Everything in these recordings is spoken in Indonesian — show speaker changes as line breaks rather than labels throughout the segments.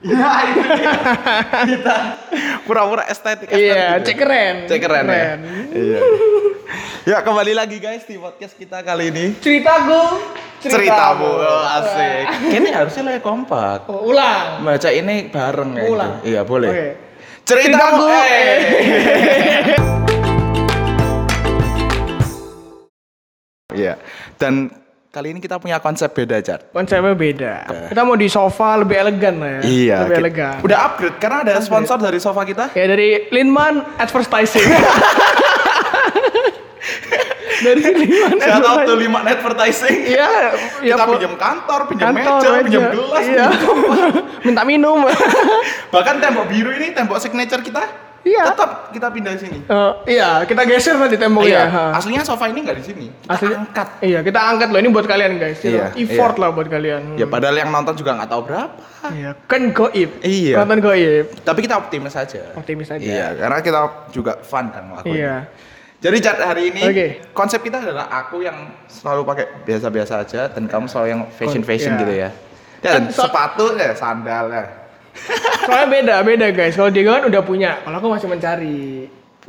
Iya, itu dia. kita pura-pura estetik. estetik
Iya,
gitu.
cek keren.
Cek keren, ya. Iya. ya, kembali lagi guys di podcast kita kali ini.
Cerita gue.
Ceritamu, Oh, asik. Kayaknya harusnya lebih kompak.
Oh, ulang.
Baca ini bareng ya.
Ulang.
gitu. Iya, boleh.
Oke.
Ceritamu.
Ceritamu,
eh. Iya. Dan kali ini kita punya konsep beda, Jar.
Konsepnya beda. Kita mau di sofa lebih elegan lah ya. Lebih
ki-
elegan.
Iya, Udah upgrade karena ada sponsor dari sofa kita.
Ya dari Linman Advertising. dari Linman
Shout out to
Advertising.
Lima Advertising.
Iya, ya
kita
po-
pinjam kantor, pinjam
kantor
meja,
aja.
pinjam gelas,
Iya.
pinjam apa.
Minta minum.
bahkan tembok biru ini tembok signature kita.
Iya.
Tetap kita pindah sini.
Eh, iya, kita geser nanti temboknya. iya, Ha.
Aslinya sofa ini nggak di sini. Kita
Asli-
Iya. angkat.
Iya, kita angkat loh ini buat kalian guys.
Iya,
Effort lah buat kalian.
Ya padahal yang nonton juga nggak tahu berapa.
Iya, kan goib.
Iya.
Konten goib.
Tapi kita optimis aja.
Optimis aja.
Iya, karena kita juga fun kan ngelakuin.
Iya.
Jadi Jar, hari ini
Oke.
konsep kita adalah aku yang selalu pakai biasa-biasa aja dan kamu selalu yang fashion-fashion
Iya. Eh,
gitu ya. Dan
So-
sepatu ya, sandal ya.
Soalnya beda, beda guys. Kalau Diego kan udah punya, kalau aku masih mencari.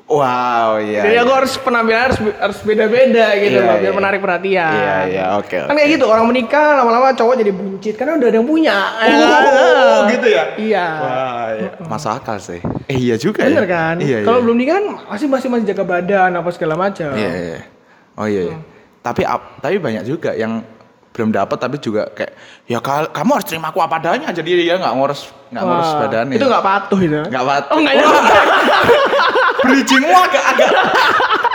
Wow, iya.
Jadi
iya.
aku harus penampilan harus harus beda-beda gitu
Iya,
loh, biar
iya.
menarik perhatian.
Iya, iya, oke,
Kan kayak gitu orang menikah lama-lama cowok jadi buncit karena udah ada yang punya. ya kan?
Oh, gitu ya?
Iya.
Wah, iya. Masuk akal sih. Eh iya juga ya.
Bener kan?
Iya,
Kalau
iya.
belum nikah kan masih masih masih jaga badan apa segala macam.
Iya, iya. Oh iya,
Mm.
iya. Tapi ap- tapi banyak juga yang belum dapat tapi juga kayak ya kal- kamu harus terima aku apa adanya. Jadi dia nggak ngurus nggak ngurus
Wah,
badannya.
Itu nggak patuh itu.
Nggak patuh.
Oh nggak nyampe.
bridgingmu agak agak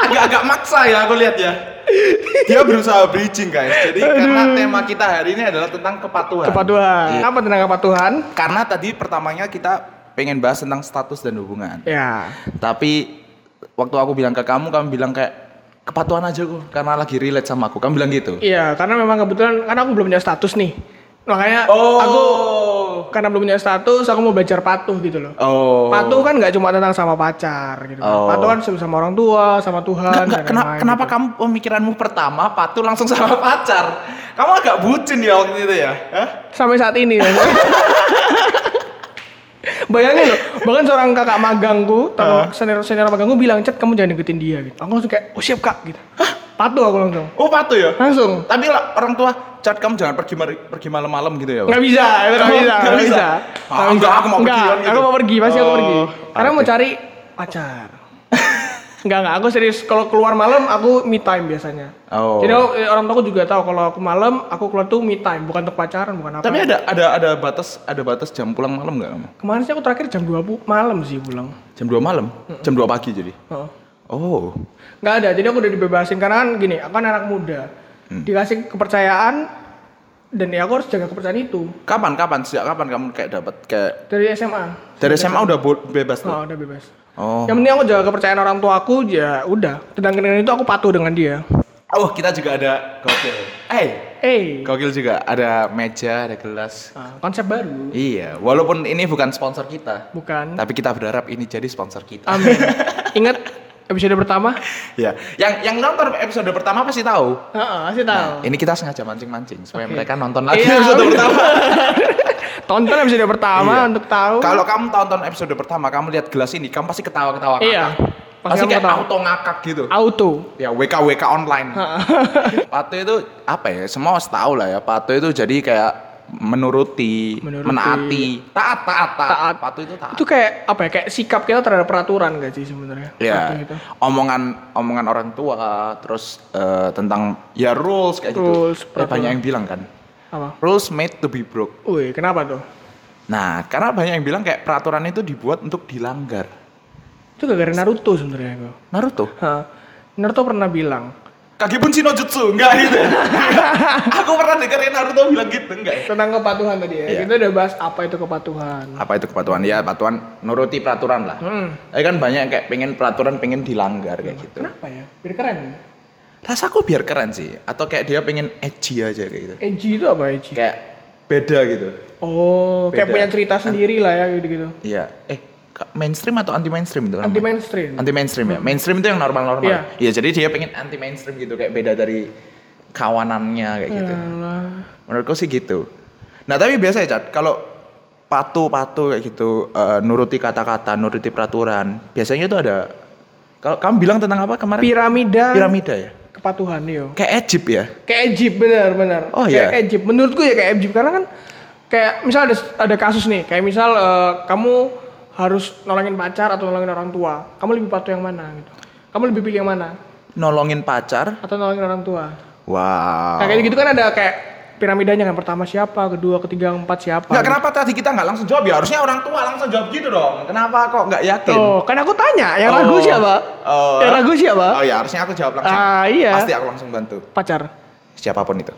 agak agak maksa ya aku lihat ya. Dia berusaha bridging guys. Jadi karena tema kita hari ini adalah tentang kepatuhan.
Kepatuhan.
Iya.
Apa tentang kepatuhan?
Karena tadi pertamanya kita pengen bahas tentang status dan hubungan.
Ya.
Tapi waktu aku bilang ke kamu, kamu bilang kayak kepatuhan aja kok karena lagi relate sama aku. Kamu bilang gitu.
Iya, karena memang kebetulan karena aku belum punya status nih. Makanya
Oh.
aku karena belum punya status, aku mau belajar patuh gitu loh.
Oh.
Patuh kan nggak cuma tentang sama pacar gitu. kan.
Oh.
Patuh kan sama orang tua, sama Tuhan.
Nggak, nggak,
dan
kena-
lain-lain
kenapa
gitu.
kamu pemikiranmu pertama patuh langsung sama pacar? Kamu agak bucin ya waktu itu ya? Hah?
Sampai saat ini. ya. Bayangin loh, bahkan seorang kakak magangku, atau senior senior magangku bilang, "Cet, kamu jangan ikutin dia." gitu. Aku langsung kayak, "Oh, siap, Kak." gitu. Patuh aku langsung.
Oh patuh ya?
Langsung.
Tapi lah, orang tua, cat kamu jangan pergi mari- pergi malam-malam gitu ya? Pak?"
Nggak bisa, itu nggak
Kamu
bisa,
nggak
nggak
bisa?
bisa.
Ah,
Nggak
enggak, aku mau
Nggak,
pergian gitu.
Aku mau pergi, pasti aku
Oh,
pergi. Karena mau
oke.
cari pacar. Enggak, enggak, aku serius. Kalau keluar malam, aku me time biasanya.
Oh.
Jadi aku- eh, orang tua aku juga tahu kalau aku malam, aku keluar tuh me time, bukan untuk pacaran, bukan apa.
Tapi ada ada ada batas ada batas jam pulang malam nggak kamu?
kemarin sih aku terakhir jam 2 bu- malam sih pulang.
Jam 2 malam? Jam 2 pagi jadi?
Heeh.
Oh.
Nggak ada, jadi aku udah dibebasin karena kan gini, aku kan anak muda.
Hmm.
Dikasih kepercayaan dan ya aku harus jaga kepercayaan itu
Kapan kapan sejak kapan kamu kayak dapat kayak
dari SMA.
dari SMA udah bo- bebas tuh?
Oh, udah bebas.
Oh.
Yang penting aku jaga kepercayaan orang tua aku ya udah. Sedangkan dengan itu aku patuh dengan dia.
Oh, kita juga ada gokil. Eh,
Eh,
gokil juga ada meja, ada gelas.
nah, konsep baru.
Iya, walaupun ini bukan sponsor kita,
Bukan.
tapi kita berharap ini jadi sponsor kita.
Amin. Ingat episode pertama?
Iya. Yang yang nonton episode pertama pasti tahu.
Heeh, sih tahu.
Ini kita sengaja mancing-mancing supaya mereka nonton Nah, lagi
Iya,
episode
bener.
pertama.
Tonton episode pertama
Iya.
untuk tahu.
Kalau kamu tonton episode pertama, kamu lihat gelas ini, kamu pasti ketawa-ketawa. ngakak.
Iya, pasti
Pasti
kamu
kayak
ketawa.
auto ngakak gitu.
auto.
Ya WKWK online. Patuh itu apa ya? Semua harus tahu lah ya. Patuh itu jadi kayak menuruti,
Menuruti.
menaati, taat, taat, taat.
Taat.
Patuh itu taat.
Itu kayak apa ya? Kayak sikap kita terhadap peraturan gak sih sebenarnya? Patuh
Ya,
gitu.
omongan omongan orang tua, terus eh, tentang ya rules kayak
Rules,
gitu. Eh, banyak yang bilang kan,
Apa?
rules made to be broke.
Wih, kenapa tuh?
Nah, karena banyak yang bilang kayak peraturan itu dibuat untuk dilanggar.
Itu gara-gara Naruto sebenarnya gua.
Naruto?
Hah. Naruto pernah bilang,
Kaki pun Shinojutsu, enggak gitu. Aku pernah dengerin Naruto bilang gitu, enggak.
tentang kepatuhan tadi ya.
Iya.
Kita udah bahas apa itu kepatuhan.
Apa itu kepatuhan? Ya, kepatuhan nuruti peraturan lah.
Hmm.
Tapi kan banyak yang kayak pengen peraturan pengen dilanggar kayak gitu.
Kenapa ya? Biar keren.
Rasaku biar keren sih, atau kayak dia pengen edgy aja kayak gitu.
Edgy itu apa edgy?
Kayak beda gitu.
Oh, kayak
Beda.
punya cerita sendiri lah ya gitu-gitu.
Iya. Eh, ka- mainstream atau anti mainstream itu?
Anti mainstream.
Anti mainstream ya. Mainstream itu yang normal-normal.
Iya.
Iya, jadi dia pengen anti mainstream gitu kayak beda dari kawanannya kayak gitu.
Alah.
Menurutku sih gitu. Nah tapi biasa ya Cat, kalau patuh-patuh kayak gitu, eh, nuruti kata-kata, nuruti peraturan. Biasanya itu ada kalau kamu bilang tentang apa kemarin?
Piramida,
Piramida ya.
kepatuhan yo.
Kayak Egypt ya.
Kayak Egypt benar-benar.
Oh,
kayak
iya.
Egypt. Menurutku ya kayak Egypt karena kan kayak misal ada ada kasus nih, kayak misal eh, kamu harus nolongin pacar atau nolongin orang tua. Kamu lebih patuh yang mana gitu? Kamu lebih pilih yang mana?
Nolongin pacar.
Atau nolongin orang tua?
Wow.
Nah, kayak gitu kan ada kayak piramidanya kan pertama siapa, kedua, ketiga, empat siapa.
Nggak kenapa tadi kita nggak langsung jawab ya? Harusnya orang tua langsung jawab gitu dong. Kenapa kok nggak yakin?
Tuh, kan aku tanya, yang
Oh.
ragu siapa?
Oh.
Yang ragu siapa?
Oh ya, harusnya aku jawab langsung.
Ah, iya.
Pasti aku langsung bantu.
Pacar.
Siapapun itu.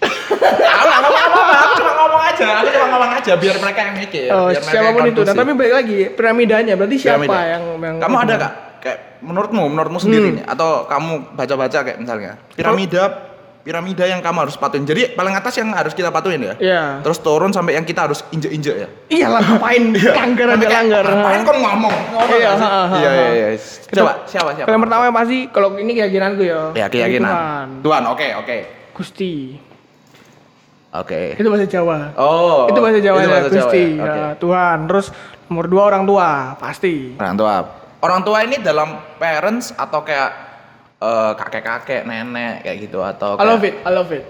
aku nggak ngomong apa-apa, aku cuma ngomong aja, aku cuma ngomong aja biar mereka yang mikir.
oh,
biar mereka Iya, yang
siapapun itu. Nah,
konklusi.
tapi balik lagi piramidanya, berarti siapa
Piramida.
yang, yang
kamu ada kak kayak menurutmu menurutmu
Hmm.
sendiri nih atau kamu baca-baca kayak misalnya piramida piramida yang kamu harus patuhin jadi paling atas yang harus kita patuhin ya
Iya.
terus turun sampai yang kita harus injek-injek ya
Iya lah, ngapain langgar ada
Kayak,
langgar.
ngapain kok kan ngomong Ngomong
Iya,
nggak sih?
ha, ha, ha.
iya iya iya
Itu-
coba siapa siapa
Kalau yang pertama yang pasti kalau ini keyakinanku ya.
ya keyakinan
Tuhan,
Tuhan oke oke
Gusti.
oke
Itu bahasa Jawa.
oh
itu bahasa Jawa ya,
Jawa
Gusti.
ya, oke.
Ya, Tuhan. Terus nomor dua orang tua, pasti.
orang tua orang tua ini dalam parents atau kayak eh, kakek-kakek nenek kayak gitu atau
I love
kayak,
it, I love it.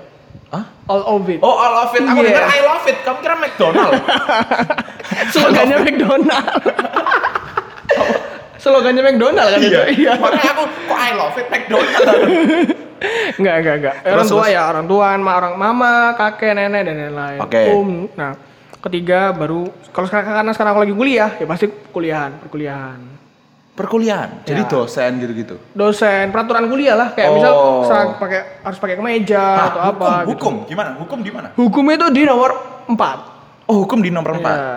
Hah?
All of it.
Oh, all of it. Aku
Iya.
dengar I love it. Kamu kira McDonald?
Slogannya McDonald. Slogannya McDonald kan itu. Iya.
Makanya aku kok I love it McDonald.
Enggak, enggak, enggak.
Terus,
orang tua
terus.
ya, orang tua, ma- orang mama, kakek, nenek dan lain-lain.
Oke.
Om. Nah, ketiga baru kalau sekarang karena sekarang aku lagi kuliah, ya pasti kuliahan, perkuliahan.
Perkuliahan. Jadi
Ya.
dosen gitu-gitu.
Dosen, peraturan kuliah lah kayak misal
Oh.
serang pakai harus pakai kemeja atau apa
Nah, hukum,
gitu.
hukum gimana? Hukum di mana?
Hukum itu di nomor 4.
Oh, hukum di nomor empat.
Iya.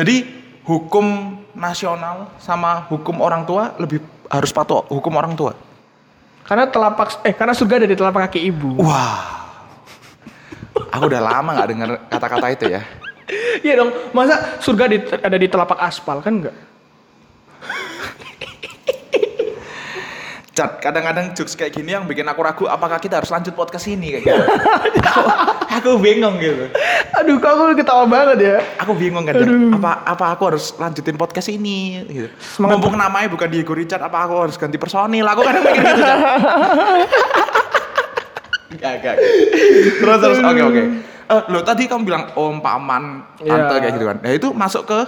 Jadi hukum nasional sama hukum orang tua lebih harus patuh hukum orang tua.
Karena telapak eh karena surga ada di telapak kaki
Oh.
ibu.
Wah. Aku udah lama nggak dengar kata-kata itu ya.
Iya dong, masa surga di, ada di telapak aspal kan enggak?
Cat, kadang-kadang jokes kayak gini yang bikin aku ragu apakah kita harus lanjut podcast ini kayak gitu. aku, aku bingung gitu.
Aduh, kok aku ketawa banget ya.
aku bingung kan ya, apa apa aku harus lanjutin podcast ini gitu.
Semangat.
Mumpung namanya bukan Diego Richard apa aku harus ganti personil aku kadang mikir gitu kan
Iya,
Gak, gak. terus terus oke oke Eh, lo tadi kamu bilang om paman tante
Iya.
kayak gitu kan nah itu masuk ke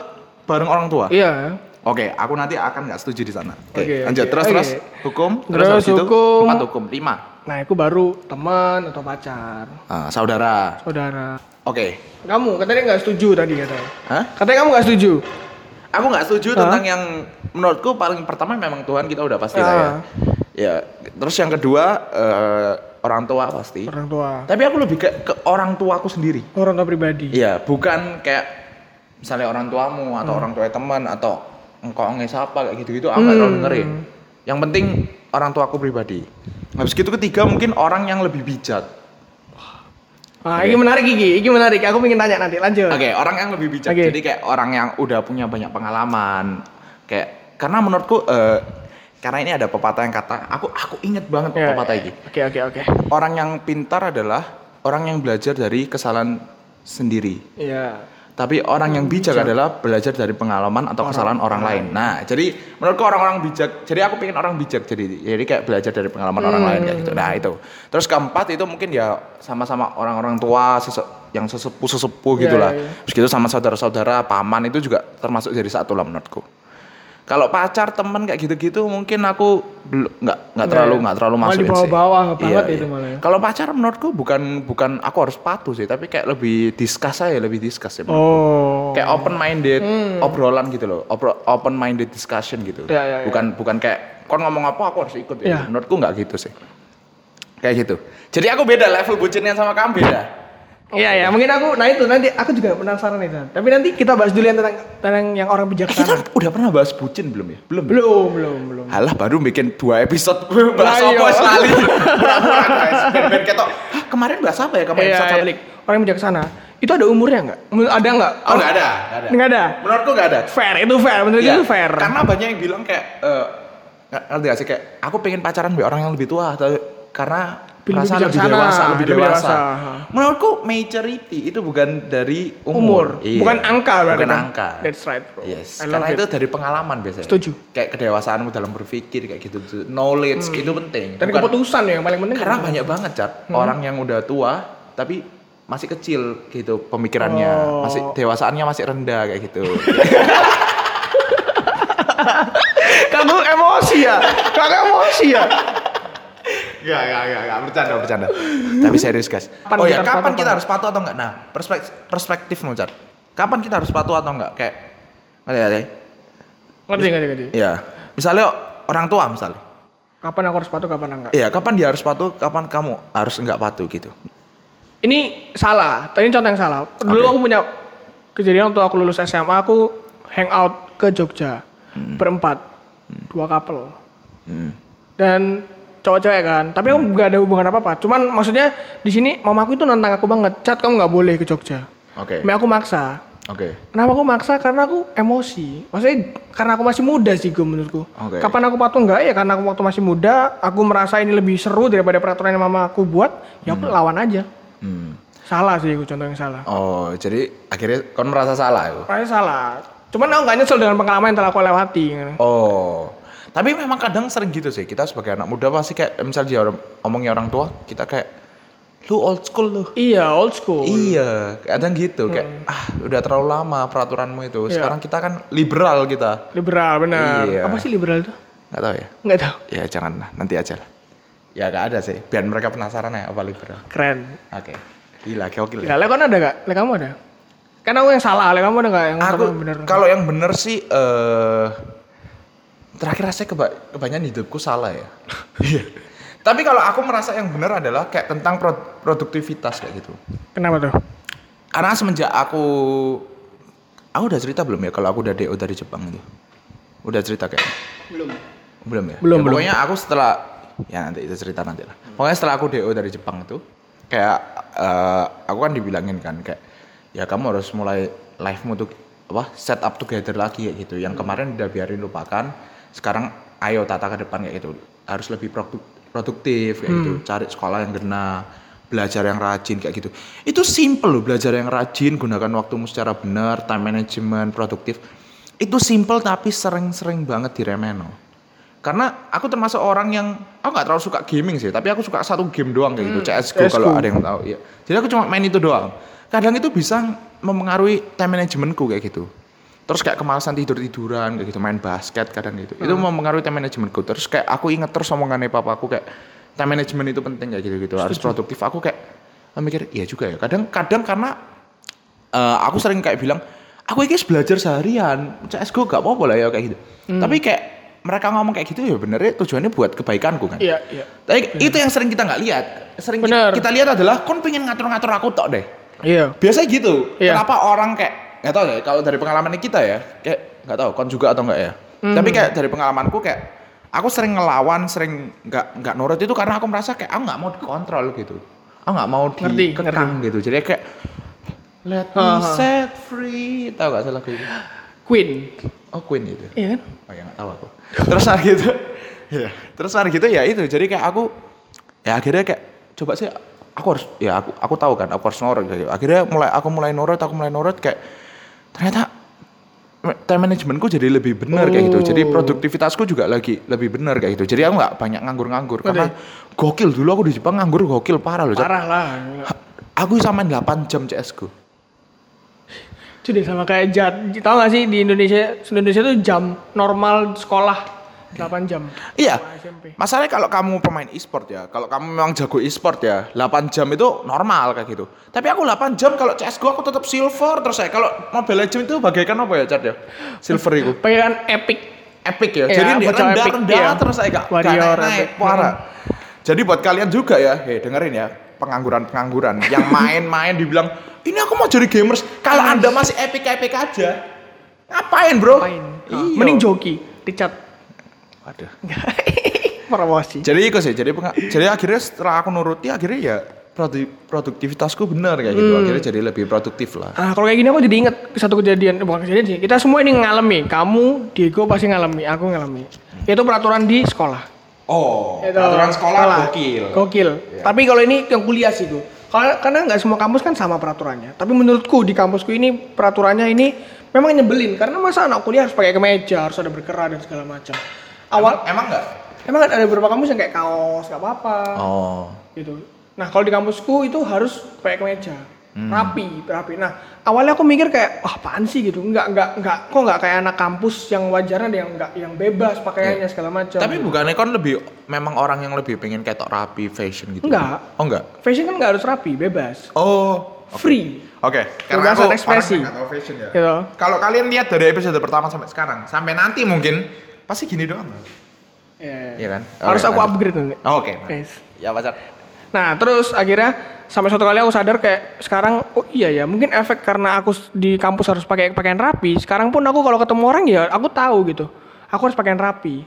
bareng orang tua
Iya.
oke aku nanti akan nggak setuju di sana oke
Oke,
lanjut
oke,
terus
oke.
terus hukum
Terus
habis itu
hukum.
empat hukum lima
Nah, aku baru teman atau pacar,
Ah, saudara
saudara.
oke
Kamu katanya nggak setuju tadi katanya.
Hah?
Katanya kamu nggak setuju.
Aku nggak setuju
Hah?
tentang yang menurutku paling pertama memang Tuhan kita udah pasti lah ya.
Ah.
Ya, terus yang kedua eh, orang tua pasti.
Orang tua.
Tapi aku lebih ke, ke orang tuaku sendiri.
Orang tua pribadi.
Iya, bukan kayak misalnya orang tuamu atau
Hmm.
orang tua teman atau engkau nge siapa kayak gitu-gitu aku nggak terlalu
Hmm.
dengerin. Yang penting orang tuaku pribadi. Habis gitu ketiga mungkin orang yang lebih bijak.
Ah, ini menarik Gigi, ini menarik. Aku pengen tanya nanti. Lanjut.
Oke, orang yang lebih bijak.
Oke.
Jadi kayak orang yang udah punya banyak pengalaman. Kayak karena menurutku eh, karena ini ada pepatah yang kata, aku aku inget banget
Ya,
pepatah
ya.
ini.
Oke, oke, oke.
Orang yang pintar adalah orang yang belajar dari kesalahan sendiri.
Iya.
Tapi orang
Hmm,
yang bijak adalah belajar dari pengalaman atau kesalahan orang lain. Nah, jadi menurutku orang-orang bijak. Jadi aku pengen orang bijak. Jadi jadi kayak belajar dari pengalaman orang lain kayak gitu. Nah, itu. Terus keempat itu mungkin ya sama-sama orang-orang tua sese- yang sesepuh-sesepuh
Iya,
gitulah.
iya, iya.
Terus gitu sama saudara-saudara, paman itu juga termasuk jadi satu lah menurutku. Kalau pacar, temen kayak gitu-gitu mungkin aku belum nggak nggak
Nggak
terlalu
ya?
nggak terlalu
Malah
masukin sih. Iya,
dibawa-bawa banget itu malah ya.
Kalau pacar menurutku bukan bukan aku harus patuh sih, tapi kayak lebih discuss aja, lebih discuss ya
Oh.
kayak open minded obrolan gitu loh open minded discussion gitu
Hmm. Ya, ya, ya.
bukan bukan kayak kon ngomong apa aku harus ikut ya.
Ya.
menurutku nggak gitu sih kayak gitu jadi aku beda level bucinnya sama kamu beda
Iya ya, mungkin aku nah itu nanti aku juga penasaran itu. Tapi nanti kita bahas dulu yang tentang tentang yang orang
Eh, kita
bijaksana.
udah pernah bahas bucin belum ya belum
Belum, belum, belum.
Halah baru bikin dua episode bahas
Lah, iya.
apa sekali. Pura-pura guys, ben-ben ketok. "Hah, kemarin bahas apa ya kemarin
Iya,
episode
iya.
satu?"
Orang bijaksana. Itu ada umurnya nggak? Menurut- Ada nggak?
Oh nggak ada, nggak ada.
Nggak ada.
Menurutku nggak ada.
Fair, itu fair. Menurut
Iya,
itu fair.
Karena banyak yang bilang kayak eh nggak ngerti gak sih kayak aku pengen pacaran sama orang yang lebih tua atau karena
Pilih
rasa lebih
bijaksana,
dewasa, lebih
lebih
dewasa.
dewasa.
Menurutku maturity itu bukan dari umur,
umur,
Iya.
bukan angka berarti
bukan
kan?
angka.
That's right, bro.
Yes,
I love
karena
it.
itu dari pengalaman biasanya.
Setuju.
Kayak kedewasaanmu dalam berpikir kayak gitu, tuh. knowledge itu penting.
Hmm. dan
Bukan-
keputusan Hmm. ya yang paling penting.
karena banyak banget cat orang yang udah tua tapi masih kecil gitu pemikirannya,
Oh.
masih dewasaannya masih rendah kayak gitu.
kamu emosi ya, kamu emosi ya.
Enggak, enggak, enggak, enggak, ya, bercanda, bercanda. Tapi serius, guys.
Kapan
oh
kita
ya,
harus
kapan
patuh,
kita
Pak?
harus patuh atau enggak? Nah, perspektif perspektif Cat. Kapan kita harus patuh atau enggak? Kayak Ngerti nggak sih?
Ngerti ngerti ngerti.
Iya. Misalnya orang tua misalnya.
Kapan aku harus patuh, kapan enggak?
Iya, kapan dia harus patuh, kapan kamu harus enggak patuh gitu.
Ini salah. Tadi contoh yang salah. Dulu aku punya kejadian waktu aku lulus SMA, aku hangout ke Jogja berempat, dua couple
Hmm.
dan cowok-cewek kan. Tapi aku nggak ada hubungan apa-apa. Cuman maksudnya di sini mamaku itu nantang aku banget. Cat kamu nggak boleh ke Jogja.
Oke.
Tapi aku maksa.
Oke.
Kenapa aku maksa? Karena aku emosi. Maksudnya karena aku masih muda sih gue menurutku.
Oke.
Kapan aku patuh enggak ya karena aku waktu masih muda, aku merasa ini lebih seru daripada peraturan yang mama aku buat, ya aku lawan aja.
Hmm.
Salah sih gue contoh yang salah.
Oh, jadi akhirnya kau merasa salah itu.
Rasanya salah. Cuman aku nggak nyesel dengan pengalaman yang telah aku lewati. gitu.
Oh. Tapi memang kadang sering gitu sih. Kita sebagai anak muda pasti kayak misalnya dia orang- omongnya orang tua, kita kayak lu old school lu.
Iya, old school.
Iya, kadang gitu kayak ah udah terlalu lama peraturanmu itu.
Iya.
Sekarang kita kan liberal kita.
liberal benar.
Iya.
Apa sih liberal itu?
Enggak tahu ya.
Nggak tahu.
Ya jangan lah, nanti aja lah. Ya gak ada sih, biar mereka penasaran ya apa liberal.
Keren.
Oke. Gila, gokil. ya.
Ya, le, kan ada gak? Le, kamu ada? Kan aku yang salah, le, kamu ada gak yang
Aku
benar?
kalau yang bener sih eh terakhir rasanya keba kebanyakan hidupku salah ya. Iya. Tapi kalau aku merasa yang bener adalah kayak tentang pro- produktivitas kayak gitu.
Kenapa tuh?
Karena semenjak aku aku udah cerita belum ya kalau aku udah DO dari Jepang itu. Udah cerita kayak
Belum.
belum ya?
Belum,
Ya,
belum.
Pokoknya aku setelah ya nanti itu cerita nanti lah. Pokoknya setelah aku DO dari Jepang itu kayak eh, aku kan dibilangin kan kayak ya kamu harus mulai live-mu tuh apa set up together lagi kayak gitu. Yang kemarin udah biarin lupakan, sekarang ayo tata ke depan kayak gitu. Harus lebih produk- produktif kayak
Hmm.
gitu. Cari sekolah yang kena belajar yang rajin kayak gitu. Itu simple loh belajar yang rajin, gunakan waktumu secara benar, time management, produktif. Itu simple tapi sering-sering banget diremeno karena aku termasuk orang yang aku nggak terlalu suka gaming sih tapi aku suka satu game doang kayak gitu CS:GO
CS:GO.
kalau ada yang tahu ya jadi aku cuma main itu doang kadang itu bisa mempengaruhi time managementku kayak gitu terus kayak kemalasan tidur tiduran kayak gitu main basket kadang gitu itu mempengaruhi time managementku terus kayak aku inget terus omongannya papaku kayak time management itu penting kayak gitu gitu harus produktif aku kayak mikir iya juga ya kadang kadang karena Eh, aku sering kayak bilang aku ini belajar seharian CSGO gak apa-apa lah ya kayak gitu
Hmm.
tapi kayak mereka ngomong kayak gitu ya benernya tujuannya buat kebaikanku kan
Iya, iya.
tapi itu yang sering kita nggak lihat sering ki-
Bener.
kita lihat adalah kon pengen ngatur-ngatur aku tok deh
Iya.
biasanya gitu
Iya.
kenapa orang kayak nggak tahu ya kalau dari pengalaman kita ya kayak nggak tahu kon juga atau nggak ya
Hmm.
tapi kayak dari pengalamanku kayak aku sering ngelawan sering nggak nggak nurut itu karena aku merasa kayak aku nggak mau dikontrol gitu aku nggak mau
Ngerti,
dikekang gitu jadi kayak let me
Ha, ha.
set free tahu nggak salah gitu
Queen.
oh Queen itu
Iya kan?
Oh ya nggak tahu aku. Terus hari gitu, ya. Terus hari gitu ya itu. Jadi kayak aku, ya akhirnya kayak coba sih aku harus ya aku aku tahu kan aku harus nurut gitu. Akhirnya mulai aku mulai nurut, aku mulai nurut kayak ternyata time managementku jadi lebih benar kayak gitu. Jadi
Oh.
produktivitasku juga lagi lebih benar kayak gitu. Jadi aku nggak banyak nganggur-nganggur karena gokil dulu aku di Jepang nganggur gokil parah loh. Cat.
Parah lah.
Aku sama 8 jam CS:GO.
Sudah sama kayak jat. Tahu gak sih di Indonesia, di Indonesia tuh jam normal sekolah 8 jam.
Iya.
SMP.
Masalahnya kalau kamu pemain e-sport ya, kalau kamu memang jago e-sport ya, 8 jam itu normal kayak gitu. Tapi aku 8 jam kalau CS:GO aku tetap silver terus ya. Kalau Mobile Legends itu bagaikan apa ya, Chat ya? Silver itu.
Pegangan epic.
Epic ya.
Iya,
Jadi dia
bocah
rendah,
epic,
rendah
iya.
terus saya gak, gak
Warrior,
naik,
epic. Hmm.
parah. Jadi buat kalian juga ya, hei dengerin ya, pengangguran-pengangguran yang main-main dibilang, "Ini aku mau jadi gamers." Kalau
Iya,
Anda masih epic-epic aja, ngapain, Bro?
Main.
Iya.
Mending joki, dicat.
Waduh.
Promosi.
jadi itu sih jadi penga- jadi akhirnya setelah aku nuruti akhirnya ya produ- produktivitasku benar kayak gitu
Hmm.
akhirnya jadi lebih produktif lah
Nah, kalau kayak gini aku jadi inget satu kejadian, eh, bukan kejadian sih. Kita semua ini ngalami. Kamu, Diego pasti ngalami, aku ngalami. Itu peraturan di sekolah.
Oh,
Itu,
peraturan sekolah, gokil. Iya.
Gokil. Tapi kalau ini yang kuliah sih gue. Karena karena nggak semua kampus kan sama peraturannya. Tapi menurutku di kampusku ini peraturannya ini memang nyebelin karena masa anak kuliah harus pakai kemeja, harus ada berkerah dan segala macam. Awal
Emang enggak?
emang ada beberapa kampus yang kayak kaos, nggak apa-apa
Oh.
gitu. Nah kalau di kampusku itu harus pakai kemeja,
Hmm.
rapi, rapi. Nah awalnya aku mikir kayak wah apaan sih gitu, nggak nggak nggak kok nggak kayak anak kampus yang wajarnya ada yang nggak yang bebas pakaiannya segala macam.
Iya. Tapi bukannya kon lebih memang orang yang lebih pengen ketok rapi fashion gitu?
Enggak.
Oh enggak.
fashion kan nggak harus rapi, bebas,
Oh.
free.
Oke,
Kebebasan ekspresi.
orang yang nggak tahu fashion ya.
Gitu.
Kalau kalian lihat dari episode pertama sampai sekarang, sampai nanti mungkin pasti gini doang.
Iya.
Iya kan?
Harus
Oke,
aku
lanjut.
upgrade nanti.
Oh, Oke.
Yes.
Ya pacar.
Nah terus akhirnya sampai suatu kali aku sadar kayak sekarang oh iya ya mungkin efek karena aku s- di kampus harus pakai pakaian rapi. Sekarang pun aku kalau ketemu orang ya aku tahu gitu, aku harus pakaian rapi.